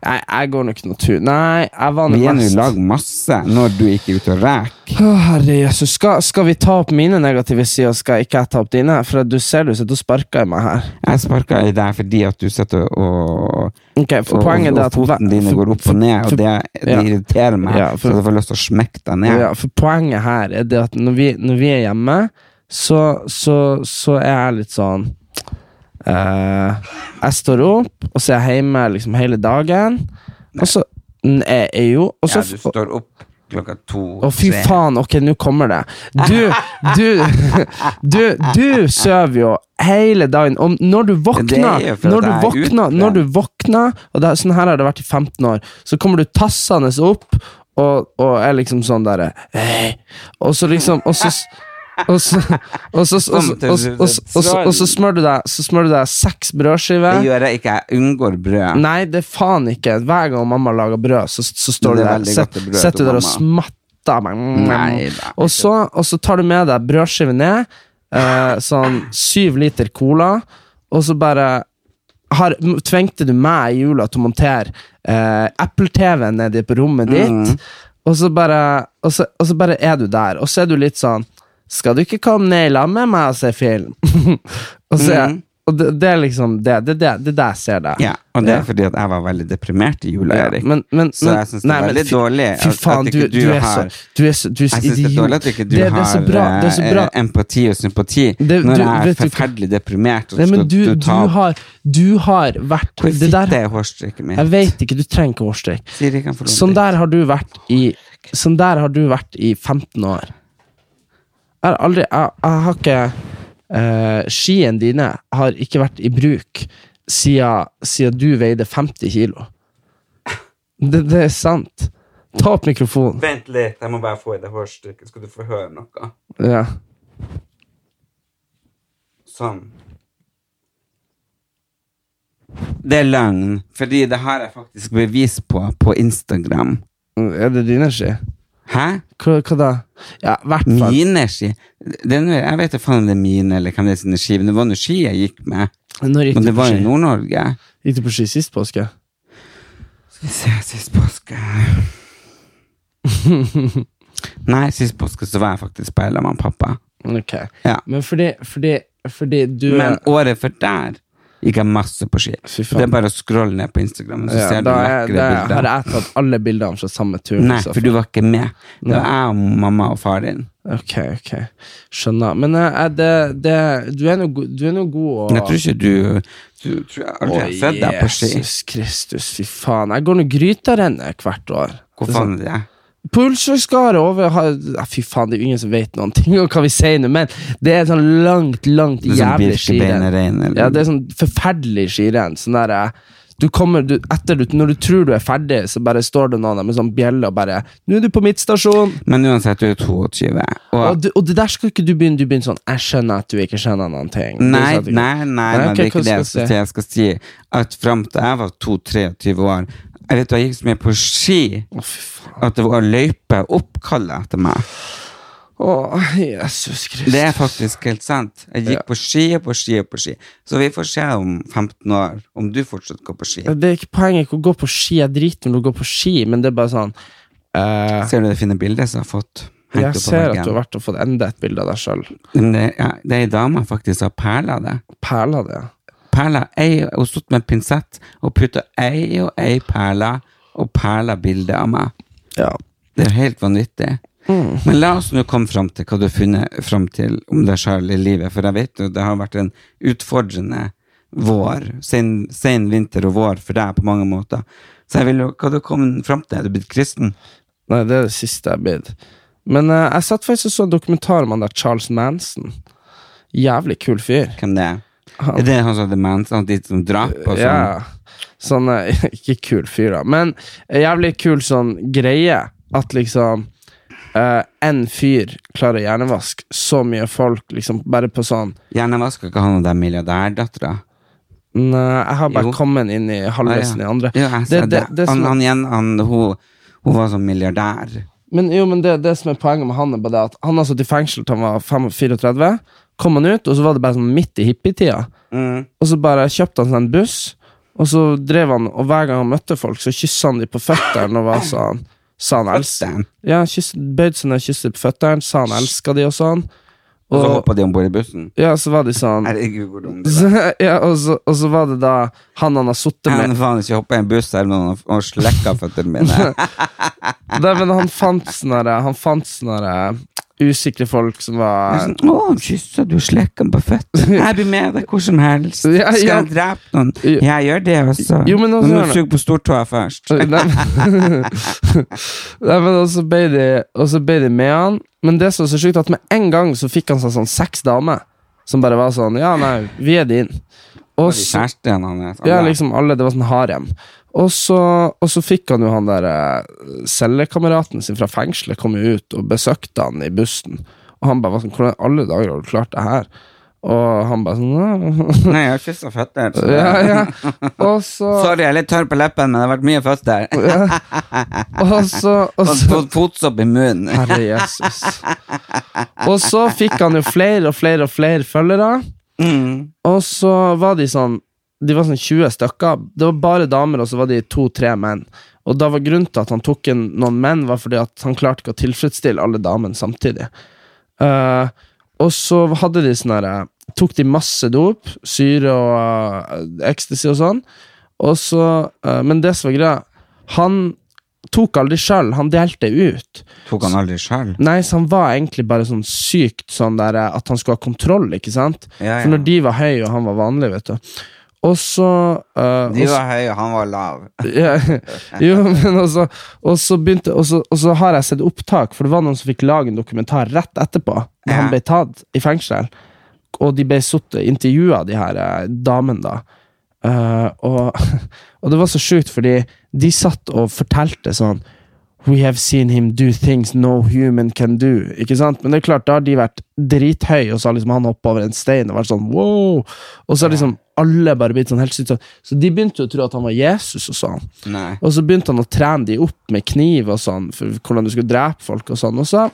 Speaker 1: Nei, jeg går nok noen tur. Nei, jeg var
Speaker 2: Vi
Speaker 1: nå
Speaker 2: er nå i
Speaker 1: mest-
Speaker 2: lag masse når du ikke er ute og reker.
Speaker 1: Å, herre Jesus. Skal, skal vi ta opp mine negative sider, skal ikke jeg ta opp dine? For at du ser du sitter og sparker i meg her.
Speaker 2: Jeg sparka i deg fordi at du sitter og
Speaker 1: Ok, for
Speaker 2: og,
Speaker 1: poenget er
Speaker 2: og
Speaker 1: at hver-
Speaker 2: foten din går opp og ned, og det, det
Speaker 1: ja.
Speaker 2: irriterer meg.
Speaker 1: Ja, for-
Speaker 2: så jeg får lyst til å smekke deg ned.
Speaker 1: Ja, for poenget her er det at når vi, når vi er hjemme, så, så, så er jeg litt sånn eh, Jeg står opp, og så er jeg hjemme liksom hele dagen. Og så N- Jeg er jo Og så
Speaker 2: Ja, du står opp klokka to.
Speaker 1: å, fy
Speaker 2: tre.
Speaker 1: faen, ok, nå kommer det. Du, du, du, du sover jo hele dagen. Og når du våkner,
Speaker 2: Det er jo fordi
Speaker 1: når du
Speaker 2: jeg er
Speaker 1: våkner,
Speaker 2: utbrent.
Speaker 1: når du våkner og det, er- Sånn her har det vært i 15 år. Så kommer du tassende opp og, og er liksom sånn derre «Hei». Og så liksom Og så og så, og så, og så, og så, og så, og så, og så, og så smører du deg Så smører du deg seks
Speaker 2: Det
Speaker 1: brødskiver.
Speaker 2: gjør jeg ikke. Jeg unngår brød.
Speaker 1: Nei, det er faen ikke. Hver gang mamma lager brød, så, så står du
Speaker 2: Det er
Speaker 1: der
Speaker 2: veldig
Speaker 1: set-
Speaker 2: godt brød til
Speaker 1: Sitter du der og
Speaker 2: mamma.
Speaker 1: smatter. meg.
Speaker 2: da.
Speaker 1: og, så, og så tar du med deg brødskive ned, eh, sånn syv liter cola, og så bare har, m- tvengte du meg i jula til å montere eh, Apple-TV nedi på rommet ditt,
Speaker 2: Mhm.
Speaker 1: og, så bare, og, så, og så bare er du der. Og så er du litt sånn Skal du ikke komme ned i lag med meg og se film? og så, er-
Speaker 2: Mhm.
Speaker 1: og det, det er liksom det. Det er det, det, er det jeg ser der.
Speaker 2: Ja, og det
Speaker 1: Ja.
Speaker 2: er fordi at jeg var veldig deprimert i jula,
Speaker 1: Ja,
Speaker 2: Erik.
Speaker 1: men, men,
Speaker 2: Så
Speaker 1: men-
Speaker 2: jeg syns det
Speaker 1: nei,
Speaker 2: er
Speaker 1: men
Speaker 2: veldig
Speaker 1: fy-
Speaker 2: dårlig at,
Speaker 1: Fy faen,
Speaker 2: at
Speaker 1: du,
Speaker 2: ikke
Speaker 1: du, er så,
Speaker 2: har
Speaker 1: du er så, du er så
Speaker 2: jeg synes det er
Speaker 1: idiot.
Speaker 2: dårlig at ikke du
Speaker 1: Det- det er så
Speaker 2: har
Speaker 1: bra, det er så
Speaker 2: eh,
Speaker 1: bra.
Speaker 2: empati og sympati
Speaker 1: Det-
Speaker 2: når
Speaker 1: du-
Speaker 2: jeg er
Speaker 1: vet du hva?
Speaker 2: forferdelig deprimert. Og
Speaker 1: Nei, men
Speaker 2: skal
Speaker 1: du, du,
Speaker 2: ta,
Speaker 1: har, du har vært
Speaker 2: Hvor
Speaker 1: Det der
Speaker 2: fitte er hårstrykket mitt?
Speaker 1: Jeg vet ikke, du trenger ikke hårstrikk.
Speaker 2: Siri kan få lov
Speaker 1: Sånn
Speaker 2: til.
Speaker 1: der har du vært i Sånn der har du vært i 15 år. Jeg har aldri Jeg, jeg har ikke eh, Skiene dine har ikke vært i bruk siden, siden du veide 50 kilo. Det, det er sant. Ta opp mikrofonen.
Speaker 2: Vent litt, jeg må bare få i det hårstrykket, skal du få høre noe.
Speaker 1: Ja.
Speaker 2: Sånn. Det er løgn, fordi det har jeg faktisk bevis på på Instagram.
Speaker 1: Er det dine ski?
Speaker 2: Hæ?
Speaker 1: Hva, hva da? Ja, i hvert fall.
Speaker 2: Mine ski? Det er noe- jeg vet ikke faen om det er mine eller hvem det er sine ski, men det var noe ski jeg gikk med.
Speaker 1: Når gikk
Speaker 2: Men
Speaker 1: du
Speaker 2: det
Speaker 1: på
Speaker 2: var i
Speaker 1: ski?
Speaker 2: Nord-Norge.
Speaker 1: Gikk du på ski sist påske?
Speaker 2: Skal vi se, sist påske Nei, sist påske så var jeg faktisk på Ella med pappa.
Speaker 1: Ok.
Speaker 2: Ja.
Speaker 1: Men fordi, fordi, fordi du
Speaker 2: Men året før der gikk jeg masse på ski.
Speaker 1: Fy faen.
Speaker 2: Det er bare å scrolle ned på Instagram, så
Speaker 1: ja,
Speaker 2: ser du
Speaker 1: da er,
Speaker 2: vakre
Speaker 1: da er- har
Speaker 2: bilder.
Speaker 1: jeg tatt alle bildene fra samme tur.
Speaker 2: Nei,
Speaker 1: liksom.
Speaker 2: for du var ikke med. Det
Speaker 1: Nei.
Speaker 2: var jeg og mamma og far din.
Speaker 1: Ok, ok. Skjønner. Men eh, er det, det, du er nå go- du er nå god og
Speaker 2: Jeg tror ikke du Du tror jeg aldri har sett deg på ski.
Speaker 1: Jesus Kristus, fy faen. Jeg går nå grytarennet hvert år.
Speaker 2: Hvor faen er sånn det?
Speaker 1: På Ulsvågsgard over har- ja, Fy faen, det er jo ingen som vet noen ting om hva vi sier nå, men det er et sånn langt, langt,
Speaker 2: Det er sånn
Speaker 1: jævlig skirenn.
Speaker 2: Birkebeinerrein eller
Speaker 1: Ja, det er sånn forferdelig skirenn. Sånn der, eh, du kommer, du, etter du, når du tror du er ferdig, så bare står det noen der med sånn bjelle og bare 'Nå er du på midtstasjon!'
Speaker 2: Men uansett, du er 22. Og
Speaker 1: Og, du, og det der skal ikke du begynne. Du begynner sånn 'Jeg skjønner at du ikke skjønner noen ting'. Det er
Speaker 2: Nei,
Speaker 1: sånn
Speaker 2: nei,
Speaker 1: at du-
Speaker 2: nei, nei,
Speaker 1: Nei, ok,
Speaker 2: det er ikke
Speaker 1: hva
Speaker 2: det
Speaker 1: skal jeg
Speaker 2: jeg skal si. Jeg skal si at fram til jeg var 22-23 år Jeg vet du, jeg gikk så mye på ski
Speaker 1: Å, fy faen.
Speaker 2: at det var løyper oppkalt etter meg.
Speaker 1: Å, Jesus Kristus.
Speaker 2: Det er faktisk helt sant. Jeg gikk
Speaker 1: Ja.
Speaker 2: på ski og på ski og på ski. Så vi får se om 15 år om du fortsatt går på ski.
Speaker 1: Det er ikke poenget ikke å gå på ski. Jeg driter når du går på ski, men det er bare sånn eh,
Speaker 2: Ser du det fine bildet som jeg har fått?
Speaker 1: Jeg
Speaker 2: hengt opp på
Speaker 1: ser at
Speaker 2: veggen?
Speaker 1: du har vært og fått enda et bilde av deg sjøl.
Speaker 2: Men det, ja, det er ei dame faktisk som har perla det.
Speaker 1: Perla det.
Speaker 2: Perla ei, Hun satt med en pinsett og putta ei og ei perle og perla bildet av meg.
Speaker 1: Ja.
Speaker 2: Det er jo helt vanvittig.
Speaker 1: Mm.
Speaker 2: Men la oss nå komme fram til hva du har funnet fram til om deg sjøl i livet, for jeg vet jo det har vært en utfordrende vår, sen, sen vinter og vår for deg på mange måter. Så jeg vil jo, hva du kom fram til? Er du blitt kristen?
Speaker 1: Nei, det er det siste jeg blir. Men eh, jeg satt faktisk og så en dokumentar om han der Charles Manson. Jævlig kul fyr.
Speaker 2: Hvem det er?
Speaker 1: Han-
Speaker 2: Er det han som hadde mens, han de som drap og sånn?
Speaker 1: Ja. Sånn eh, Ikke kul fyr, da, men en jævlig kul sånn greie. At liksom eh, en fyr klarer å hjernevaske så mye folk, liksom bare på sånn
Speaker 2: Hjernevaska ikke han og den milliardærdattera?
Speaker 1: Nei, jeg har bare
Speaker 2: Jo.
Speaker 1: kommet inn i halvveisen i andre.
Speaker 2: Ja, jeg ser
Speaker 1: Det- det-
Speaker 2: det.
Speaker 1: det som
Speaker 2: han,
Speaker 1: er-
Speaker 2: han igjen, han, hun, hun var sånn milliardær.
Speaker 1: Men jo, men det, det som er poenget med han, er bare det at han har sittet i fengsel til han var 5 34. Kom han ut, og så var det bare sånn midt i hippietida.
Speaker 2: Mm.
Speaker 1: Og så bare kjøpte han seg en buss, og så drev han, og hver gang han møtte folk, så kyssa han dem på føttene og var sånn. Sa han els
Speaker 2: Damn.
Speaker 1: ja, kyss, Bøyd seg ned og kysset på føttene, sa han elska de og sånn.
Speaker 2: Og så
Speaker 1: Og
Speaker 2: hoppa de om bord i bussen.
Speaker 1: ja, så var de sånn
Speaker 2: Herregud, hvor dumt det er.
Speaker 1: ja, og, så, og så var det da han han har sittet med
Speaker 2: Jeg kan faen ikke hoppe i en buss selv om han har slekka føttene mine.
Speaker 1: Nei, men han fant sånne der- Han fant sånne der usikre folk som
Speaker 2: Jeg er
Speaker 1: var
Speaker 2: Sånn, å, kyssa du slekken på føttene? Jeg blir med deg hvor som helst. Skal
Speaker 1: Ja, ja.
Speaker 2: jeg drepe noen?
Speaker 1: Jo.
Speaker 2: Jeg gjør det også.
Speaker 1: Jo, men
Speaker 2: men
Speaker 1: altså,
Speaker 2: må
Speaker 1: Jørgen-
Speaker 2: du suge på stortåa først.
Speaker 1: Nei, men- Nei, men og så ble de Og så ble de med han Men det som er så sykt er at med en gang så fikk han seg sånn seks damer Som bare var sånn, ja nei, vi er din Og
Speaker 2: Og de
Speaker 1: så,
Speaker 2: kjærestene hans.
Speaker 1: ja
Speaker 2: alle.
Speaker 1: liksom alle, det var sånn harem og så, og så fikk han jo han der eh, Cellekameraten sin fra fengselet Kom jo ut og besøkte han i bussen Og han bare var sånn, hvordan i alle dager har du klart det her? Og han bare sånn «Nei,
Speaker 2: Nei, jeg har kyssa føtter. så det-
Speaker 1: Ja, ja. Og så
Speaker 2: Sorry, jeg er litt tørr på leppen, men det har vært mye føtter.
Speaker 1: Og så, og
Speaker 2: Fått
Speaker 1: så
Speaker 2: fått fotsopp i munnen.
Speaker 1: Herre Jesus. Og så fikk han jo flere og flere og flere følgere.
Speaker 2: Mm.
Speaker 1: Og så var de sånn De var sånn 20 stykker. Det var bare damer, og så var de to-tre menn. Og da var grunnen til at han tok inn noen menn, var fordi at han klarte ikke å tilfredsstille alle damene samtidig. Eh, og så hadde de sånn herre Tok de masse dop, syre og eh, ecstasy og sånn. Og så, eh, men det som var greia, han tok aldri sjøl, han delte ut.
Speaker 2: Tok han aldri sjøl?
Speaker 1: Nei, så han var egentlig bare sånn sykt sånn der eh, at han skulle ha kontroll, ikke sant?
Speaker 2: Ja, ja.
Speaker 1: For når de var høye og han var vanlig, vet du. Og så eh,
Speaker 2: De
Speaker 1: og så-
Speaker 2: var høye, og han var lav.
Speaker 1: ja, Jo, men også, og så begynte og så, og så har jeg sett opptak, for det var noen som fikk lage en dokumentar rett etterpå, da han
Speaker 2: Ja.
Speaker 1: ble tatt i fengsel. Og de ble suttet- intervjua, de her eh, damene, da. Eh, og, og det var så sjukt, fordi de satt og fortalte sånn We have seen him do things no human can do. Ikke sant? Men det er klart, da har de vært drithøye, og så har liksom han hoppa over en stein og vært sånn wow. Og så har liksom alle bare blitt sånn helt sykt sånn. Så de begynte jo å tro at han var Jesus og sånn.
Speaker 2: Nei.
Speaker 1: Og så begynte han å trene de opp med kniv og sånn, for hvordan du skulle drepe folk og sånn. Og så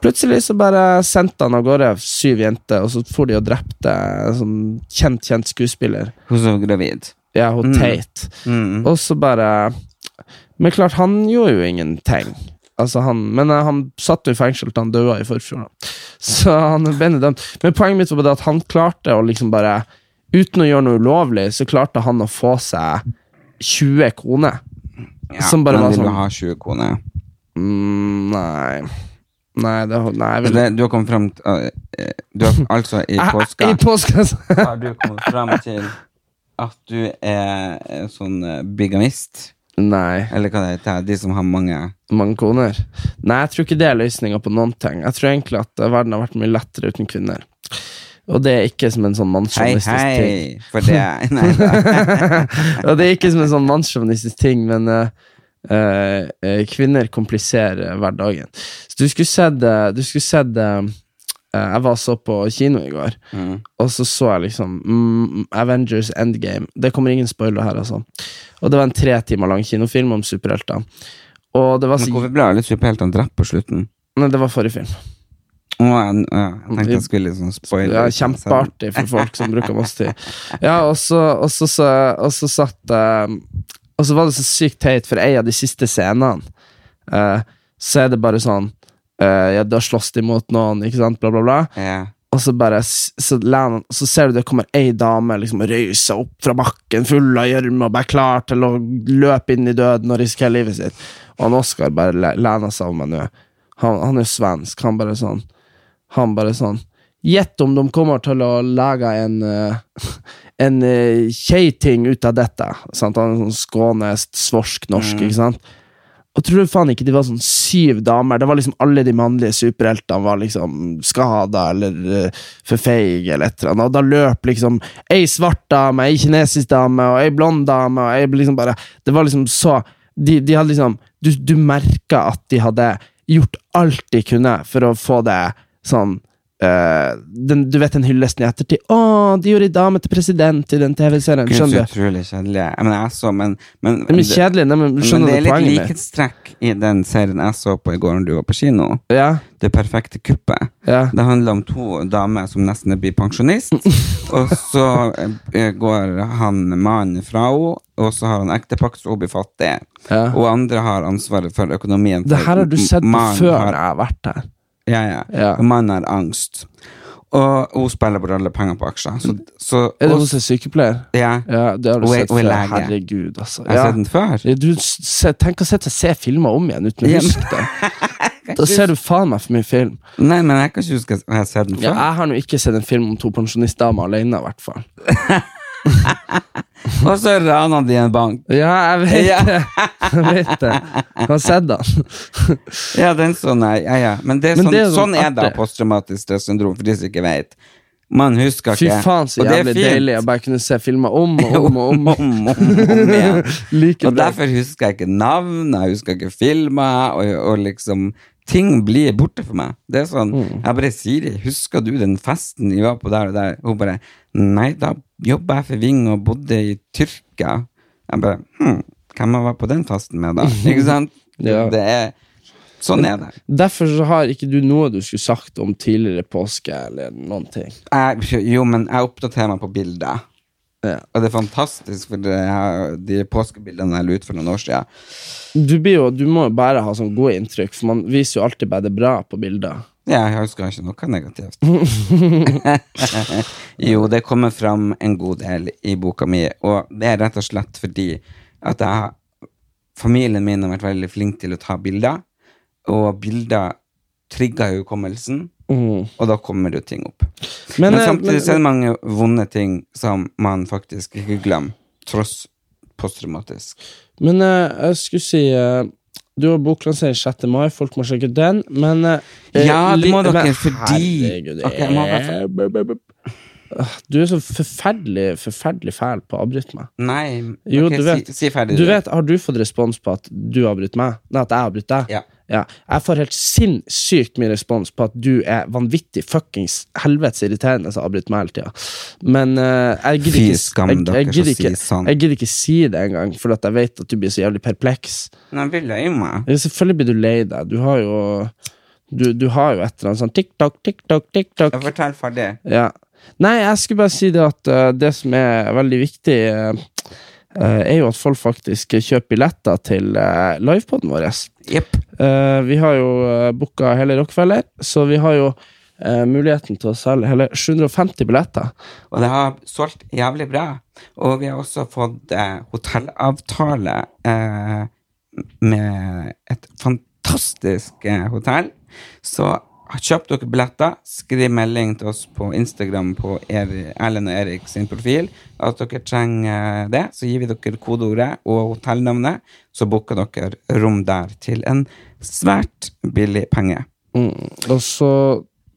Speaker 1: plutselig så bare sendte han av gårde syv jenter, og så for de og drepte en sånn kjent, kjent skuespiller.
Speaker 2: Hun som var gravid.
Speaker 1: Ja, hun
Speaker 2: Mm.
Speaker 1: Tate.
Speaker 2: Mm.
Speaker 1: Og så bare Men klart, han gjorde jo ingenting. Altså han, men eh, han satt jo i fengsel til han døde i forfjor. da. Så han ble dømt. Men poenget mitt var bare det at han klarte å liksom bare Uten å gjøre noe ulovlig, så klarte han å få seg 20 koner.
Speaker 2: Ja,
Speaker 1: som bare
Speaker 2: men
Speaker 1: var
Speaker 2: vil
Speaker 1: sånn-
Speaker 2: du ha 20 koner?
Speaker 1: Mm, nei Nei, det, nei jeg vil,
Speaker 2: Det, du har kommet fram til øh, øh, Du har altså i
Speaker 1: Ah,
Speaker 2: påska
Speaker 1: I påska så-
Speaker 2: har du kommet fram til at du er en sånn øh, bigamist?
Speaker 1: Nei,
Speaker 2: Eller hva det heter? De som har mange
Speaker 1: mange koner. Nei, jeg tror ikke det er løsninga på noen ting. Jeg tror egentlig at eh, verden har vært mye lettere uten kvinner. Og det er ikke som en sånn
Speaker 2: Hei,
Speaker 1: mannssjåvinistisk ting.
Speaker 2: hei! For det Nei da.
Speaker 1: Og det er ikke som en sånn mannssjåvinistisk ting, men eh, eh, eh, kvinner kompliserer hverdagen. Så du skulle sett eh, Du skulle sett eh, eh, Jeg var så på kino i går,
Speaker 2: Mm.
Speaker 1: og så så jeg liksom mm, Avengers Endgame. Det kommer ingen spoiler her, altså. Og det var en tre timer lang kinofilm om superhelter. Og det var
Speaker 2: Men
Speaker 1: så
Speaker 2: hvorfor ble alle superheltene drept på slutten?
Speaker 1: Nei, det var forrige film.
Speaker 2: Å, jeg, ja, jeg tenkte jeg skulle liksom spoile
Speaker 1: Ja, kjempeartig for folk som bruker masse tid. Ja, og så, og så, så, og så satt eh, Og så var det så sykt teit, for ei av de siste scenene eh, Så er det bare sånn eh, Ja, da slåss de mot noen, ikke sant, bla, bla, bla.
Speaker 2: Ja.
Speaker 1: Og så bare s- så, lener han- så ser du det kommer ei dame liksom og røyser opp fra bakken, full av gjørme, og bare klar til å løpe inn i døden og risikere livet sitt. Og han Oskar bare le- lener seg over meg nå. Han, han er svensk. Han bare sånn Han bare sånn Gjett om de kommer til å lage en eh, En eh, keiting ut av dette. Sant? Han er sånn skånest, svorsk, norsk, ikke sant? Og tror du faen ikke de var sånn syv damer? Det var liksom alle de mannlige superheltene var liksom skada eller uh, for feige eller et eller annet. Og da løp liksom ei svart dame, ei kinesisk dame og ei blond dame og ei liksom bare Det var liksom så De, de hadde liksom Du, du merka at de hadde gjort alt de kunne for å få det sånn eh, den, du vet den hyllesten i ettertid. 'Å, de gjorde ei dame til president i den TV-serien.'
Speaker 2: Gud, så
Speaker 1: Skjønner du?
Speaker 2: utrolig kjedelig. Jeg, men jeg så, men, men,
Speaker 1: Det er mye kjedelig, nei, men
Speaker 2: men
Speaker 1: skjønner du
Speaker 2: det er litt
Speaker 1: poenget mitt?
Speaker 2: likhetstrekk i den serien jeg så på i går når du var på kino.
Speaker 1: Ja,
Speaker 2: Det perfekte kuppet.
Speaker 1: ja.
Speaker 2: Det handler om to damer som nesten blir pensjonist. Og så eh, går han mannen fra henne, og så har han ektepakt, så hun blir fattig.
Speaker 1: ja.
Speaker 2: Og andre har ansvaret for økonomien.
Speaker 1: Det her har du sett på
Speaker 2: Mannen
Speaker 1: før
Speaker 2: har-
Speaker 1: jeg har vært her.
Speaker 2: Ja, ja.
Speaker 1: Ja.
Speaker 2: Og mannen har angst. Og hun spiller bort alle pengene på aksjer. Så, så,
Speaker 1: Mm. Er det
Speaker 2: og,
Speaker 1: hos en sykepleier?
Speaker 2: ja,
Speaker 1: Ja, det har du
Speaker 2: Og jeg-
Speaker 1: sett
Speaker 2: og jeg
Speaker 1: før.
Speaker 2: leger.
Speaker 1: Herregud, altså.
Speaker 2: jeg har
Speaker 1: Ja.
Speaker 2: sett den før.
Speaker 1: Ja, Du, s- se, tenk å sette seg se filmer om igjen uten å
Speaker 2: Ja, men-
Speaker 1: huske det. Da ser du faen meg for mye film.
Speaker 2: Nei, men jeg kan ikke huske at jeg har sett den
Speaker 1: Ja,
Speaker 2: før.
Speaker 1: jeg har nå ikke sett en film om to pensjonistdamer alene, i hvert fall.
Speaker 2: Og så rana de en bank.
Speaker 1: Ja, jeg vet
Speaker 2: Ja.
Speaker 1: det. Jeg vet det. Jeg har sett den.
Speaker 2: Ja, den sånn er, ja, ja. Men, det er
Speaker 1: Men
Speaker 2: sånn,
Speaker 1: det er sånn
Speaker 2: sånn er det
Speaker 1: artig.
Speaker 2: posttraumatisk stressyndrom, for de som ikke vet. Man husker
Speaker 1: Fy
Speaker 2: ikke.
Speaker 1: faen, så
Speaker 2: Og det er
Speaker 1: jævlig
Speaker 2: fint.
Speaker 1: deilig å bare kunne se filmer om og om og om.
Speaker 2: om, om, om igjen.
Speaker 1: Like
Speaker 2: Og
Speaker 1: bra.
Speaker 2: derfor husker jeg ikke navn, jeg husker ikke filmer, og, og liksom Ting blir borte for meg. Det er sånn,
Speaker 1: Mm.
Speaker 2: Jeg bare sier det. 'Husker du den festen vi var på der og der?' Hun bare 'Nei, da jobba jeg for Ving og bodde i Tyrkia'. Jeg bare hm, 'Hvem jeg var på den festen med, da?' Ikke sant?
Speaker 1: Ja.
Speaker 2: Det er, sånn er det.
Speaker 1: Derfor så har ikke du noe du skulle sagt om tidligere påske eller noen ting.
Speaker 2: Jeg, jo, men jeg oppdaterer meg på bilder.
Speaker 1: Ja.
Speaker 2: Og det er fantastisk, for det er, de påskebildene jeg la ut for noen år siden
Speaker 1: Du, blir jo, du må jo bare ha sånn gode inntrykk, for man viser jo alltid bare det bra på bilder.
Speaker 2: Ja, jeg husker ikke noe negativt. jo, det kommer fram en god del i boka mi, og det er rett og slett fordi at jeg, familien min har vært veldig flink til å ta bilder, og bilder trigger jo hukommelsen, og da kommer det jo ting opp. Mm. Men,
Speaker 1: eh,
Speaker 2: samtidig
Speaker 1: men-
Speaker 2: så er det mange vonde ting som man faktisk ikke glemmer, tross posttraumatisk.
Speaker 1: Men eh, jeg skulle si eh, Du har boklansering 6. mai, folk må sjekke ut den, men eh,
Speaker 2: Ja, det
Speaker 1: li-
Speaker 2: må dere,
Speaker 1: men
Speaker 2: fordi-
Speaker 1: Herregud,
Speaker 2: Ok, jeg må sånn- bare-
Speaker 1: jeg Du er så forferdelig forferdelig fæl på å avbryte meg.
Speaker 2: Nei,
Speaker 1: Jo,
Speaker 2: ok,
Speaker 1: du vet-
Speaker 2: si, si ferdig.
Speaker 1: Du vet, Har du fått respons på at du avbryter meg? Nei, at jeg avbryter deg?
Speaker 2: Ja.
Speaker 1: Jeg får helt sinnssykt mye respons på at du er vanvittig fuckings helvetes irriterende som avbryter meg hele tida. Men eh, jeg gidder
Speaker 2: Fy
Speaker 1: ikke
Speaker 2: skam
Speaker 1: jeg,
Speaker 2: dere
Speaker 1: jeg
Speaker 2: som
Speaker 1: gidder
Speaker 2: sier
Speaker 1: ikke,
Speaker 2: sånn.
Speaker 1: Jeg gidder ikke si det engang, for at jeg vet at du blir så jævlig perpleks.
Speaker 2: Nå vil jeg jo meg.
Speaker 1: Ja, Selvfølgelig blir du lei deg. Du har jo Du, du har jo et eller annet sånn TikTok, TikTok, TikTok.
Speaker 2: Jeg forteller ferdig.
Speaker 1: Ja. Nei, jeg skulle bare si det at eh, det som er veldig viktig, eh, eh, er jo at folk faktisk kjøper billetter til uh, livepoden vår.
Speaker 2: Jepp.
Speaker 1: Eh, vi har jo uh, booka hele Rockefeller, så vi har jo eh, muligheten til å selge hele 750 billetter.
Speaker 2: Og det har solgt jævlig bra. Og vi har også fått eh, hotellavtale eh, med et fantastisk eh, hotell. Så kjøp dere billetter. Skriv melding til oss på Instagram på Eri, Erlend og Erik sin profil at dere trenger eh, det. Så gir vi dere kodeordet og hotellnavnet, så booker dere rom der til en svært billig penge.
Speaker 1: Mm. Og så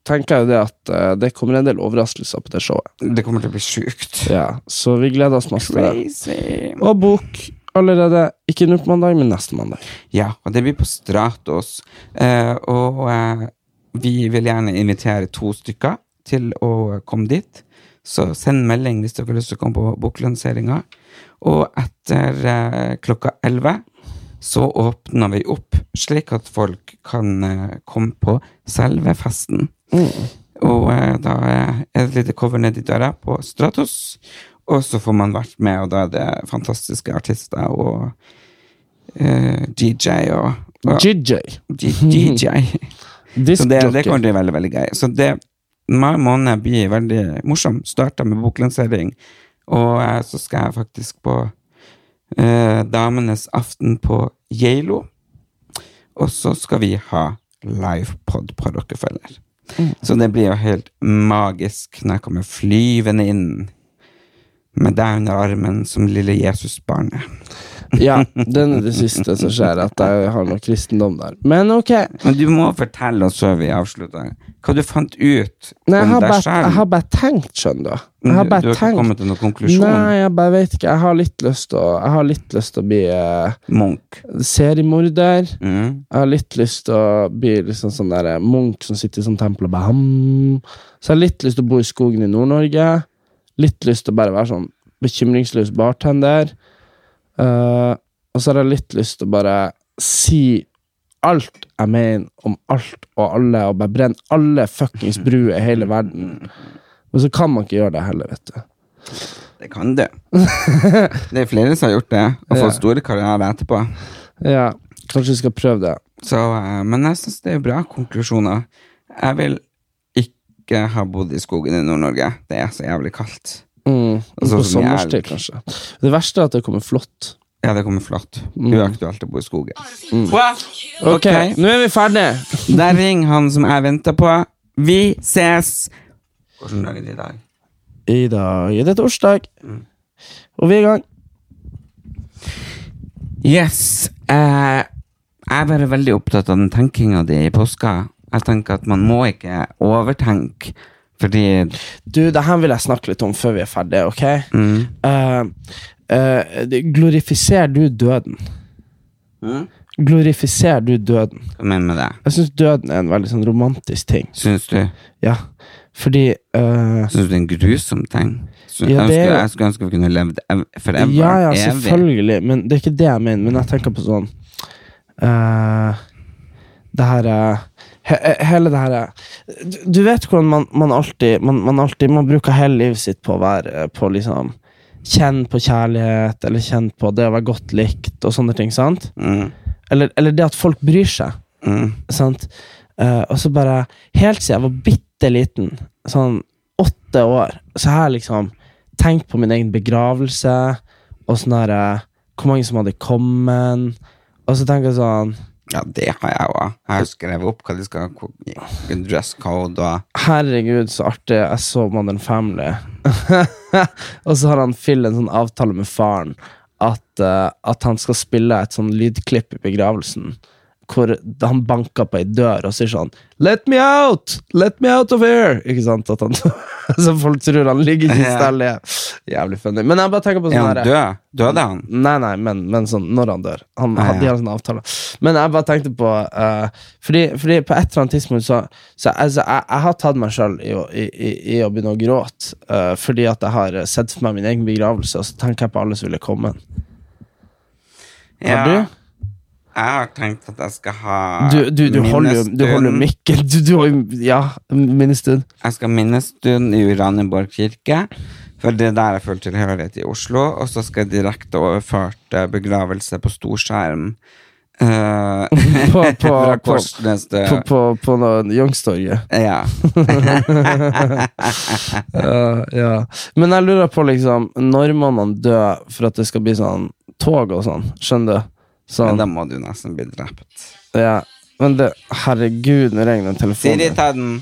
Speaker 1: tenker jeg jo det at eh, det kommer en del overraskelser på det showet.
Speaker 2: Det kommer til å bli sjukt.
Speaker 1: Ja, så vi gleder oss masse til det.
Speaker 2: Crazy.
Speaker 1: Og bok allerede ikke nå på mandag, men neste mandag.
Speaker 2: Ja, og det blir på Stratos. Eh, og eh, vi vil gjerne invitere to stykker til å komme dit. Så send melding hvis dere har lyst til å komme på boklanseringa. Og etter eh, klokka 11 så åpner vi opp, slik at folk kan eh, komme på selve festen.
Speaker 1: Mm.
Speaker 2: Og eh, da er det et lite cover nedi døra på Stratos. Og så får man vært med, og da er det fantastiske artister og eh, DJ og, og
Speaker 1: JJ.
Speaker 2: D- DJ. Så det, det kommer
Speaker 1: Diskjockey.
Speaker 2: til å bli veldig, veldig gøy. Så det mai måned blir veldig morsom. Starta med boklansering, og eh, så skal jeg faktisk på eh, Damenes aften på Geilo. Og så skal vi ha livepod på Rockefeller.
Speaker 1: Mm.
Speaker 2: Så det blir jo helt magisk når jeg kommer flyvende inn med deg under armen som lille Jesusbarnet.
Speaker 1: Ja, den er det siste som skjer, at jeg har noe kristendom der. Men ok.
Speaker 2: Men du må fortelle oss før vi avslutter hva du fant ut
Speaker 1: Nei, jeg
Speaker 2: om
Speaker 1: har,
Speaker 2: deg
Speaker 1: bare,
Speaker 2: selv.
Speaker 1: jeg har bare tenkt, skjønner du. Jeg har
Speaker 2: du, du
Speaker 1: bare
Speaker 2: har ikke
Speaker 1: tenkt.
Speaker 2: kommet til noen konklusjon?
Speaker 1: Nei, jeg bare vet ikke. Jeg har litt lyst til å, jeg har litt lyst til å bli eh,
Speaker 2: Munch.
Speaker 1: seriemorder.
Speaker 2: Mm.
Speaker 1: Jeg har litt lyst til å bli liksom sånn der eh, munk som sitter i sånn tempel og bare ham. Så jeg har litt lyst til å bo i skogen i Nord-Norge. Litt lyst til å bare være sånn bekymringsløs bartender. Eh, og så har jeg litt lyst til å bare si alt jeg mener om alt og alle, og bare brenne alle fuckings bruer i hele verden. Men så kan man ikke gjøre det heller, vet du.
Speaker 2: Det kan du. det er flere som har gjort det, og
Speaker 1: Ja.
Speaker 2: fått store karrierer etterpå.
Speaker 1: Ja, kanskje vi skal prøve det.
Speaker 2: Så, eh, men jeg syns det er bra konklusjoner. Jeg vil ikke ha bodd i skogen i Nord-Norge. Det er så jævlig kaldt.
Speaker 1: Mm. på
Speaker 2: Altså, som i
Speaker 1: sommerstid,
Speaker 2: elg.
Speaker 1: kanskje. Det verste er at det kommer flått.
Speaker 2: Ja, det kommer flott. Uaktuelt å bo i skogen.
Speaker 1: Mm. Ok, nå er vi ferdige.
Speaker 2: Der ringer han som jeg venter på. Vi ses! Hvordan dag er det i dag?
Speaker 1: I dag er det torsdag, og vi er i gang.
Speaker 2: Yes. eh, jeg er bare veldig opptatt av den tenkinga di i påska. Jeg tenker at man må ikke overtenke, fordi
Speaker 1: Du, det her vil jeg snakke litt om før vi er ferdige, ok?
Speaker 2: mm,
Speaker 1: Eh, eh, glorifiser du døden?
Speaker 2: Mm.
Speaker 1: Glorifiser du døden?
Speaker 2: Hva mener du med det?
Speaker 1: Jeg syns døden er en veldig sånn romantisk ting.
Speaker 2: Syns du,
Speaker 1: Ja, fordi eh,
Speaker 2: syns du det er en grusom ting? Sy-
Speaker 1: Ja,
Speaker 2: jeg,
Speaker 1: det er
Speaker 2: ønsker,
Speaker 1: jo-
Speaker 2: jeg skulle ønske vi kunne levd ev forever.
Speaker 1: Ja, ja,
Speaker 2: evig.
Speaker 1: selvfølgelig. Men det er ikke det jeg mener. Men jeg tenker på sånn eh, Det her eh, he, he- Hele det her eh, du, du vet hvordan man, man alltid man, man alltid Man bruker hele livet sitt på å være eh, på liksom Kjenn på kjærlighet, eller kjenn på det å være godt likt, og sånne ting. sant?
Speaker 2: Mm,
Speaker 1: Eller, eller det at folk bryr seg.
Speaker 2: mm,
Speaker 1: sant? Eh, og så bare Helt siden jeg var bitte liten, sånn åtte år, så har jeg liksom tenkt på min egen begravelse og sånn her eh, Hvor mange som hadde kommet. Og så tenker jeg sånn
Speaker 2: ja, det har jeg òg. Jeg har jo skrevet opp hva de skal ko- i- dress code og
Speaker 1: Herregud, så artig. Jeg så Modern Family. og så har han Phil en sånn avtale med faren at, eh, at han skal spille et sånn lydklipp i begravelsen. Hvor han banker på ei dør og sier sånn 'Let me out! Let me out of here!' Ikke sant? At han, så folk tror han ligger i
Speaker 2: Ja.
Speaker 1: stallet. Jævlig funny. Men jeg bare tenker på
Speaker 2: Er
Speaker 1: sånn
Speaker 2: han
Speaker 1: her-
Speaker 2: død? Døde han?
Speaker 1: Nei, nei, men, men sånn, når han dør. Han
Speaker 2: Ah,
Speaker 1: hadde
Speaker 2: ja.
Speaker 1: ja. en avtale. Men jeg bare tenkte på eh, fordi, fordi på et eller annet tidspunkt så, så altså, jeg, jeg har tatt meg sjøl i, å- i, i, i å begynne å gråte. eh, fordi at jeg har eh, sett for meg min egen begravelse, og så tenker jeg på alle som ville komme. Har du?
Speaker 2: Jeg har tenkt at jeg skal ha
Speaker 1: Du, du, du holder jo du holder jo
Speaker 2: minnestund.
Speaker 1: mikken. Du, du har jo Ja, minnestund.
Speaker 2: Jeg skal minnestund i Uranienborg kirke, for det er der jeg føler tilhørighet i Oslo. Og så skal jeg direkte overført eh, begravelse på storskjerm. Uh,
Speaker 1: På, på,
Speaker 2: fra
Speaker 1: på,
Speaker 2: Korsnes til
Speaker 1: på, på, på noe Youngstorget.
Speaker 2: Ja.
Speaker 1: Ja, Eh, ja. Men jeg lurer på, liksom, når må man dø for at det skal bli sånn tog og sånn? Skjønner du?
Speaker 2: Men
Speaker 1: Sånn.
Speaker 2: da må du nesten bli drept.
Speaker 1: Ja, men det Herregud, nå ringer den
Speaker 2: Siri,
Speaker 1: telefonen.
Speaker 2: ta den.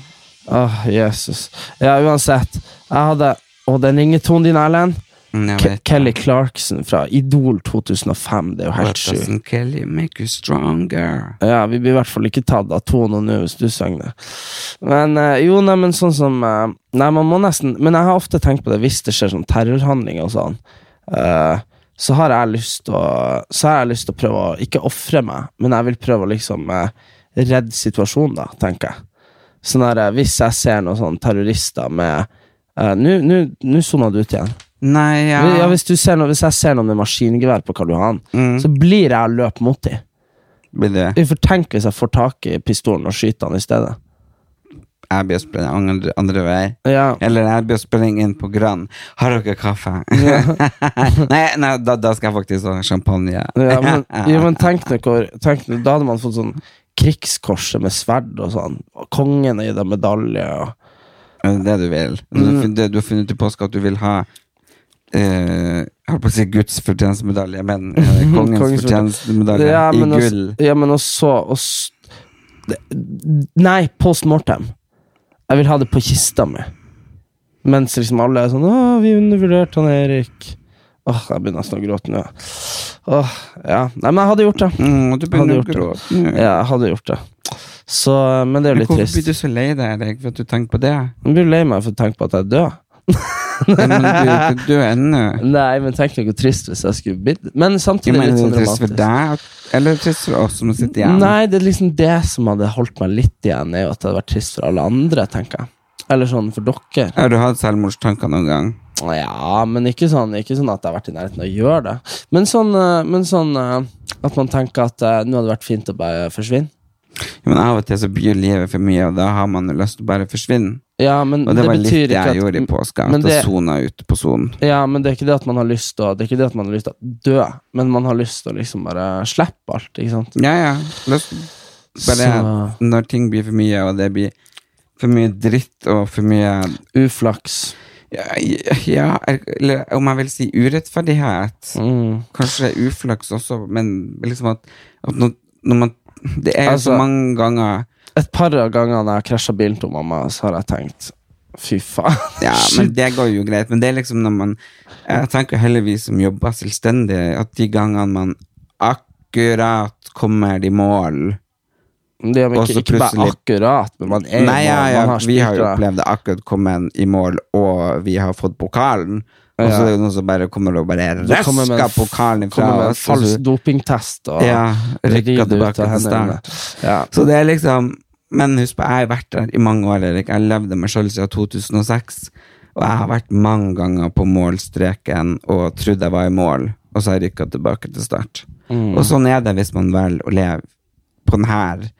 Speaker 1: Åh, Jesus. Ja, uansett. Jeg hadde Og den ringetonen din, Erlend.
Speaker 2: Mm, jeg
Speaker 1: Ke
Speaker 2: vet.
Speaker 1: Kelly Clarkson fra Idol 2005. Det er jo
Speaker 2: What
Speaker 1: helt sjukt.
Speaker 2: doesn't kill you make you stronger?
Speaker 1: Ja, vi blir i hvert fall ikke tatt av tonen nå hvis du sang det. Men eh, jo, nei, men sånn som eh, Nei, man må nesten Men jeg har ofte tenkt på det hvis det skjer sånn terrorhandlinger og sånn. eh, så har jeg lyst til å Så har jeg lyst til å prøve å ikke ofre meg, men jeg vil prøve å liksom eh, redde situasjonen, da, tenker jeg. Sånn her, eh, Hvis jeg ser noen sånne terrorister med eh, Nå nå- nå sona du ut igjen.
Speaker 2: Nei, ja,
Speaker 1: Ja, hvis, du ser noe, hvis jeg ser noen med maskingevær på Karl Johan,
Speaker 2: Mm.
Speaker 1: så blir jeg å løpe mot dem.
Speaker 2: blir det.
Speaker 1: Vi får tenke hvis jeg får tak i pistolen og skyter han i stedet.
Speaker 2: Jeg blir å spille andre, andre vei.
Speaker 1: Ja,
Speaker 2: Eller jeg blir å springe inn på Grand. Har dere kaffe? nei, nei da, da skal jeg faktisk ha champagne.
Speaker 1: ja, men, ja, men tenk deg hvor tenk, deg- Da hadde man fått sånn krigskorset med sverd og sånn. Og kongen er gitt en medalje og
Speaker 2: Det du vil. Du,
Speaker 1: Mm.
Speaker 2: har funnet- du har funnet ut i påske at du vil ha eh, Jeg holdt på å si Guds fortjenestemedalje, men eh, kongens,
Speaker 1: Kongens
Speaker 2: fortjenestemedalje
Speaker 1: ja,
Speaker 2: i
Speaker 1: men altså-
Speaker 2: gull.
Speaker 1: også- Ja, men også, også Nei, post mortem. Jeg vil ha det på kista mi. Mens liksom alle er sånn 'Å, vi undervurderte han Erik'. Åh, jeg begynner nesten å gråte nå. Åh, ja. Nei, men jeg hadde gjort det.
Speaker 2: Mm, du
Speaker 1: Hadde
Speaker 2: begynner å
Speaker 1: gjort det.
Speaker 2: gråte nå.
Speaker 1: Ja, jeg hadde gjort det. Så, men det er jo
Speaker 2: Men
Speaker 1: litt
Speaker 2: Hvorfor blir
Speaker 1: trist.
Speaker 2: du så lei deg, Erik, for at du tenker på det?
Speaker 1: Jeg blir lei meg for å tenke på at jeg er død.
Speaker 2: Ja, Men du er jo ikke død ennå.
Speaker 1: Nei, men tenk noe trist hvis jeg skulle blitt Men
Speaker 2: Jeg
Speaker 1: samtidig
Speaker 2: mener,
Speaker 1: litt
Speaker 2: er
Speaker 1: sånn
Speaker 2: det trist for
Speaker 1: dramatisk.
Speaker 2: deg, at- eller er det trist for oss som sitter igjen?
Speaker 1: Nei, det er liksom det som hadde holdt meg litt igjen, er jo at det hadde vært trist for alle andre, tenker jeg. Eller sånn for dere.
Speaker 2: Har du hatt selvmordstanker noen gang?
Speaker 1: Ja, men ikke sånn, ikke sånn at jeg har vært i nærheten av å gjøre det. Men sånn, eh, men sånn eh, at man tenker at eh, nå hadde det vært fint å bare forsvinne.
Speaker 2: Ja, Men av og til så byr livet for mye, og da har man jo lyst til å bare forsvinne.
Speaker 1: Ja, men
Speaker 2: Og det,
Speaker 1: det,
Speaker 2: var litt
Speaker 1: betyr
Speaker 2: det
Speaker 1: ikke
Speaker 2: jeg
Speaker 1: at
Speaker 2: gjorde i påska.
Speaker 1: men
Speaker 2: At jeg
Speaker 1: det-
Speaker 2: sona ut på sonen.
Speaker 1: Ja, men det er ikke det at man har lyst til å Det er ikke det at man har lyst til å dø, men man har lyst til å liksom bare slippe alt, ikke sant?
Speaker 2: Ja, ja. Lyst. Bare
Speaker 1: Så
Speaker 2: når ting blir for mye, og det blir for mye dritt og for mye
Speaker 1: eh, uflaks.
Speaker 2: Ja, ja eller om jeg vil si urettferdighet.
Speaker 1: Mm.
Speaker 2: Kanskje uflaks også, men liksom at, at når, når man Det er jo så
Speaker 1: Altså-
Speaker 2: mange ganger
Speaker 1: Et par av gangene jeg har krasja bilen til mamma, så har jeg tenkt Fy faen.
Speaker 2: Ja, men det går jo greit. Men det er liksom når man Jeg tenker heller vi som jobber selvstendig, at de gangene man akkurat kommer i mål
Speaker 1: Det er
Speaker 2: Og
Speaker 1: ikke,
Speaker 2: så
Speaker 1: ikke bare
Speaker 2: plutselig-
Speaker 1: akkurat, men man er
Speaker 2: Nei, ja,
Speaker 1: man-
Speaker 2: ja,
Speaker 1: man har
Speaker 2: vi har jo
Speaker 1: spilt det.
Speaker 2: opplevd det akkurat kommet i mål, og vi har fått pokalen. Og så
Speaker 1: Ja.
Speaker 2: er det jo noen som bare kommer og bare
Speaker 1: Så kommer med en
Speaker 2: røsker
Speaker 1: f-
Speaker 2: pokalen ifra
Speaker 1: Kommer med en
Speaker 2: oss. og
Speaker 1: falsk
Speaker 2: så-
Speaker 1: dopingtest og
Speaker 2: Ja,
Speaker 1: rir
Speaker 2: rykker
Speaker 1: det
Speaker 2: tilbake
Speaker 1: ut av
Speaker 2: til
Speaker 1: hendene.
Speaker 2: start.
Speaker 1: Ja.
Speaker 2: Så det er liksom Men husk på, jeg har vært der i mange år, Erik. Jeg levde meg sjøl siden 2006. Og jeg har vært mange ganger på målstreken og trodd jeg var i mål, og så har jeg rykka tilbake til start.
Speaker 1: Mm.
Speaker 2: Og sånn er det hvis man velger å leve på denne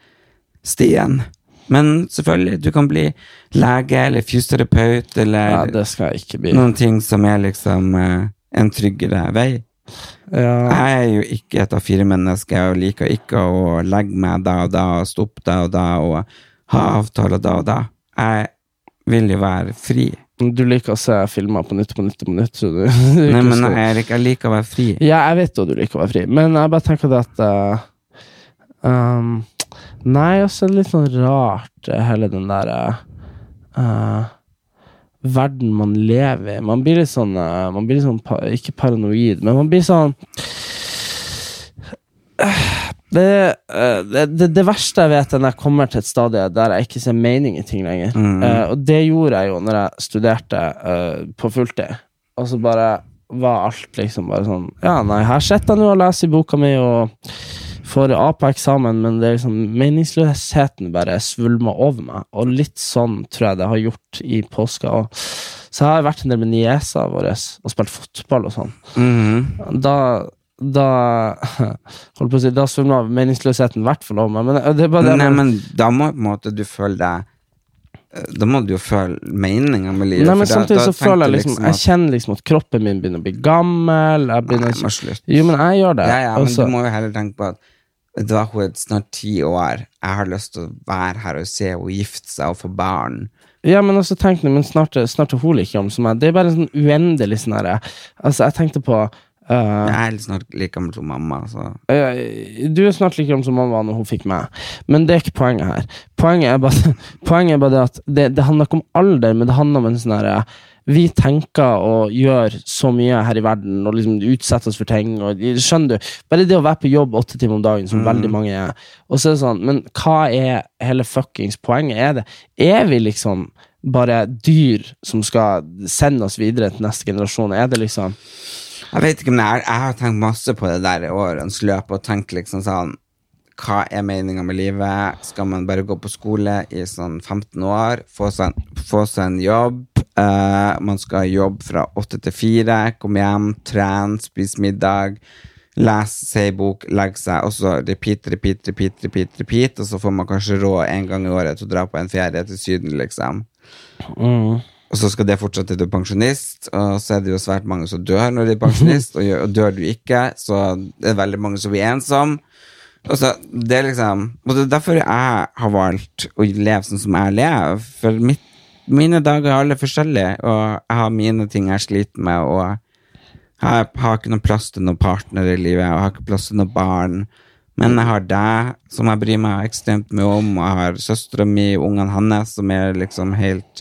Speaker 2: stien. Men selvfølgelig, du kan bli lege eller fysioterapeut eller
Speaker 1: ja, det skal jeg ikke bli.
Speaker 2: noen ting som er liksom eh, en tryggere vei.
Speaker 1: Ja.
Speaker 2: Jeg er jo ikke et av fire mennesker og liker ikke å legge meg da og da og stoppe da og da og ha avtaler da og da. Jeg vil jo være fri.
Speaker 1: Du liker å se filmer på nytt på nytt på nytt, så du
Speaker 2: Nei, men Erik, jeg liker å være fri.
Speaker 1: Ja, jeg vet jo du liker å være fri, men jeg bare tenker det at eh, um, Nei, også er det litt sånn rart, eh, hele den derre eh, verden man lever i. Man blir litt sånn, eh, man blir litt sånn pa Ikke paranoid, men man blir sånn det, eh, det, det, det verste jeg vet, er når jeg kommer til et stadie der jeg ikke ser mening i ting lenger.
Speaker 2: Mm.
Speaker 1: Eh, og det gjorde jeg jo når jeg studerte eh, på fulltid. Og så bare var alt liksom bare sånn Ja, nei, her sitter jeg nå og leser i boka mi og får A på eksamen, men det er liksom meningsløsheten bare svulmer over meg. Og litt sånn tror jeg det har gjort i påska òg. Så jeg har vært en del med niesa vår og spilt fotball og sånn.
Speaker 2: Mhm.
Speaker 1: Da da holdt på å si, da svulmer meningsløsheten i hvert fall over meg. Men det er bare det
Speaker 2: Nei, men da må på en måte du føle deg eh, Da må du jo føle meninga med livet.
Speaker 1: Nei, men
Speaker 2: for da-
Speaker 1: samtidig
Speaker 2: da
Speaker 1: så føler jeg
Speaker 2: tenker du
Speaker 1: liksom Jeg
Speaker 2: at-
Speaker 1: kjenner liksom at kroppen min begynner å bli gammel. Jeg
Speaker 2: Nei,
Speaker 1: begynner
Speaker 2: jeg må
Speaker 1: ikke
Speaker 2: slutte.
Speaker 1: Jo, men jeg gjør det.
Speaker 2: Ja, ja, men
Speaker 1: altså.
Speaker 2: du må jo heller tenke på at Vet du hva, hun er snart ti år. Jeg har lyst til å være her og se henne gifte seg og få barn.
Speaker 1: ja, men også tenk nå, men snart, er- snart er hun like gammel som meg. Det er bare en sånn uendelig sånn herre Altså, jeg tenkte på eh,
Speaker 2: Jeg er litt snart like gammel som mamma, så
Speaker 1: eh, Du er snart like gammel som mamma var når hun fikk meg, men det er ikke poenget her. Poenget er bare, poenget er bare det at det, det handler ikke om alder, men det handler om en sånn herre vi tenker og gjør så mye her i verden og liksom utsetter oss for ting. Og, skjønner du? Bare det å være på jobb åtte timer om dagen, som veldig mange er. Og så er det sånn, Men hva er hele fuckings poenget? Er det? Er vi liksom bare dyr som skal sende oss videre til neste generasjon? Er det liksom
Speaker 2: Jeg vet ikke, men jeg, jeg har tenkt masse på det der i årenes løp, og tenkt liksom sånn Hva er meninga med livet? Skal man bare gå på skole i sånn 15 år, få seg en, få seg en jobb? eh, man skal jobbe fra åtte til fire, komme hjem, trene, spise middag. Lese, se ei bok, legge seg, og så repeat, repeat, repeat, repeat, repeat, og så får man kanskje råd en gang i året til å dra på en ferie til Syden, liksom.
Speaker 1: mm.
Speaker 2: Og så skal det fortsette til du er pensjonist, og så er det jo svært mange som dør når de er pensjonist, og, gjør, og dør du ikke, så er det veldig mange som blir ensomme. Og så det er liksom Og det er derfor jeg har valgt å leve sånn som jeg lever, for mitt, mine dager er alle forskjellige, og jeg har mine ting jeg sliter med, og jeg har ikke noen plass til noen partner i livet, jeg har ikke plass til noen barn. Men jeg har deg, som jeg bryr meg ekstremt mye om, og jeg har søstera mi og ungene hans, som er liksom helt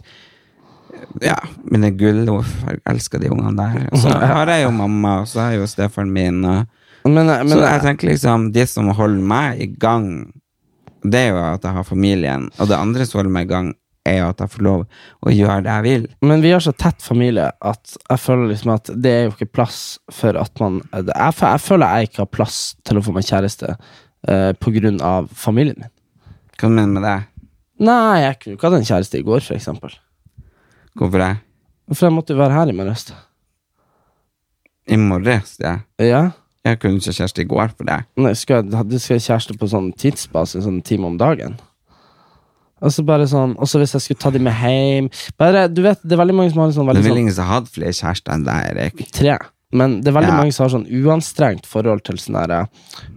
Speaker 2: Ja, mine gull. Uff, jeg elsker de ungene der. Og så har jeg jo mamma, og så har jeg jo stefaren min, og
Speaker 1: Men, men,
Speaker 2: så jeg tenker liksom, det som holder meg i gang, det er jo at jeg har familien. Og det andre som holder meg i gang, er jo at jeg får lov å gjøre det jeg vil.
Speaker 1: Men vi har så tett familie at jeg føler liksom at det er jo ikke plass for at man Jeg, fø- jeg føler jeg ikke har plass til å få meg kjæreste eh, på grunn av familien min.
Speaker 2: Hva mener du med det?
Speaker 1: Nei, jeg kunne ikke hatt en kjæreste i går, for eksempel.
Speaker 2: Hvorfor det?
Speaker 1: For jeg måtte jo være her i morges.
Speaker 2: I morges, ja.
Speaker 1: Ja.
Speaker 2: Jeg kunne ikke kjæreste i går for det.
Speaker 1: Nei, skal jeg, hadde- skal jeg kjæreste på sånn tidsbasis, sånn en time om dagen. Og så bare sånn, og så hvis jeg skulle ta dem med hjem bare, Du vet, det er veldig mange som har en sånn
Speaker 2: Det
Speaker 1: veldig
Speaker 2: er vel
Speaker 1: sånn
Speaker 2: ingen som har hatt flere kjærester enn deg, Erik.
Speaker 1: tre. Men det er veldig
Speaker 2: Ja.
Speaker 1: mange som har sånn uanstrengt forhold til sånn derre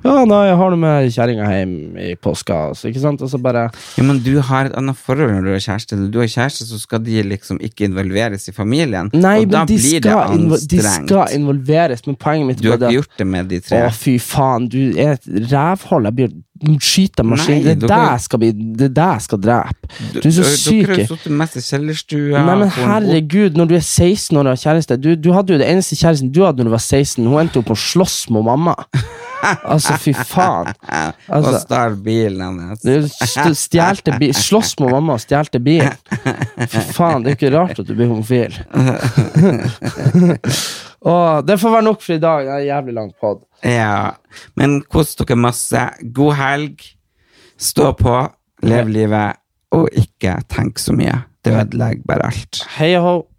Speaker 1: Ja, nei, jeg har noe med kjerringa hjem i påska, altså, ikke sant? Og så bare
Speaker 2: Ja, men du har et annet forhold når du har kjæreste. Når du har kjæreste, så skal de liksom ikke involveres i familien.
Speaker 1: Nei,
Speaker 2: og da
Speaker 1: men de
Speaker 2: blir det
Speaker 1: skal, invo de
Speaker 2: anstrengt.
Speaker 1: skal involveres, men poenget mitt
Speaker 2: Du har
Speaker 1: var det
Speaker 2: ikke
Speaker 1: at-
Speaker 2: gjort det med de
Speaker 1: Å,
Speaker 2: tre.
Speaker 1: fy faen, du er et rævhold. Jeg blir skyt av maskin.
Speaker 2: Nei,
Speaker 1: Det er
Speaker 2: dere-
Speaker 1: deg jeg skal bli Det er deg jeg skal drepe.
Speaker 2: Du,
Speaker 1: Du er så syk.
Speaker 2: Dere har jo sittet mest i kjellerstua.
Speaker 1: Nei, men
Speaker 2: på en båt.
Speaker 1: herregud, når du er 16 år og har kjæreste du, du hadde jo det eneste kjæresten du hadde når du var 16. Hun endte opp med å slåss med mamma. Altså, fy faen.
Speaker 2: Ja,
Speaker 1: Altså-
Speaker 2: og stjal bilen hennes.
Speaker 1: Du st- stjelte bi- Slåss med mamma og stjelte bilen. Fy faen, det er jo ikke rart at du blir homofil. Åh, det får være nok for i dag. Det er en jævlig lang pod.
Speaker 2: Ja. Men kos dere masse. God helg. Stå på, lev livet, og ikke tenk så mye. Det ødelegger bare alt.
Speaker 1: Hei og hå.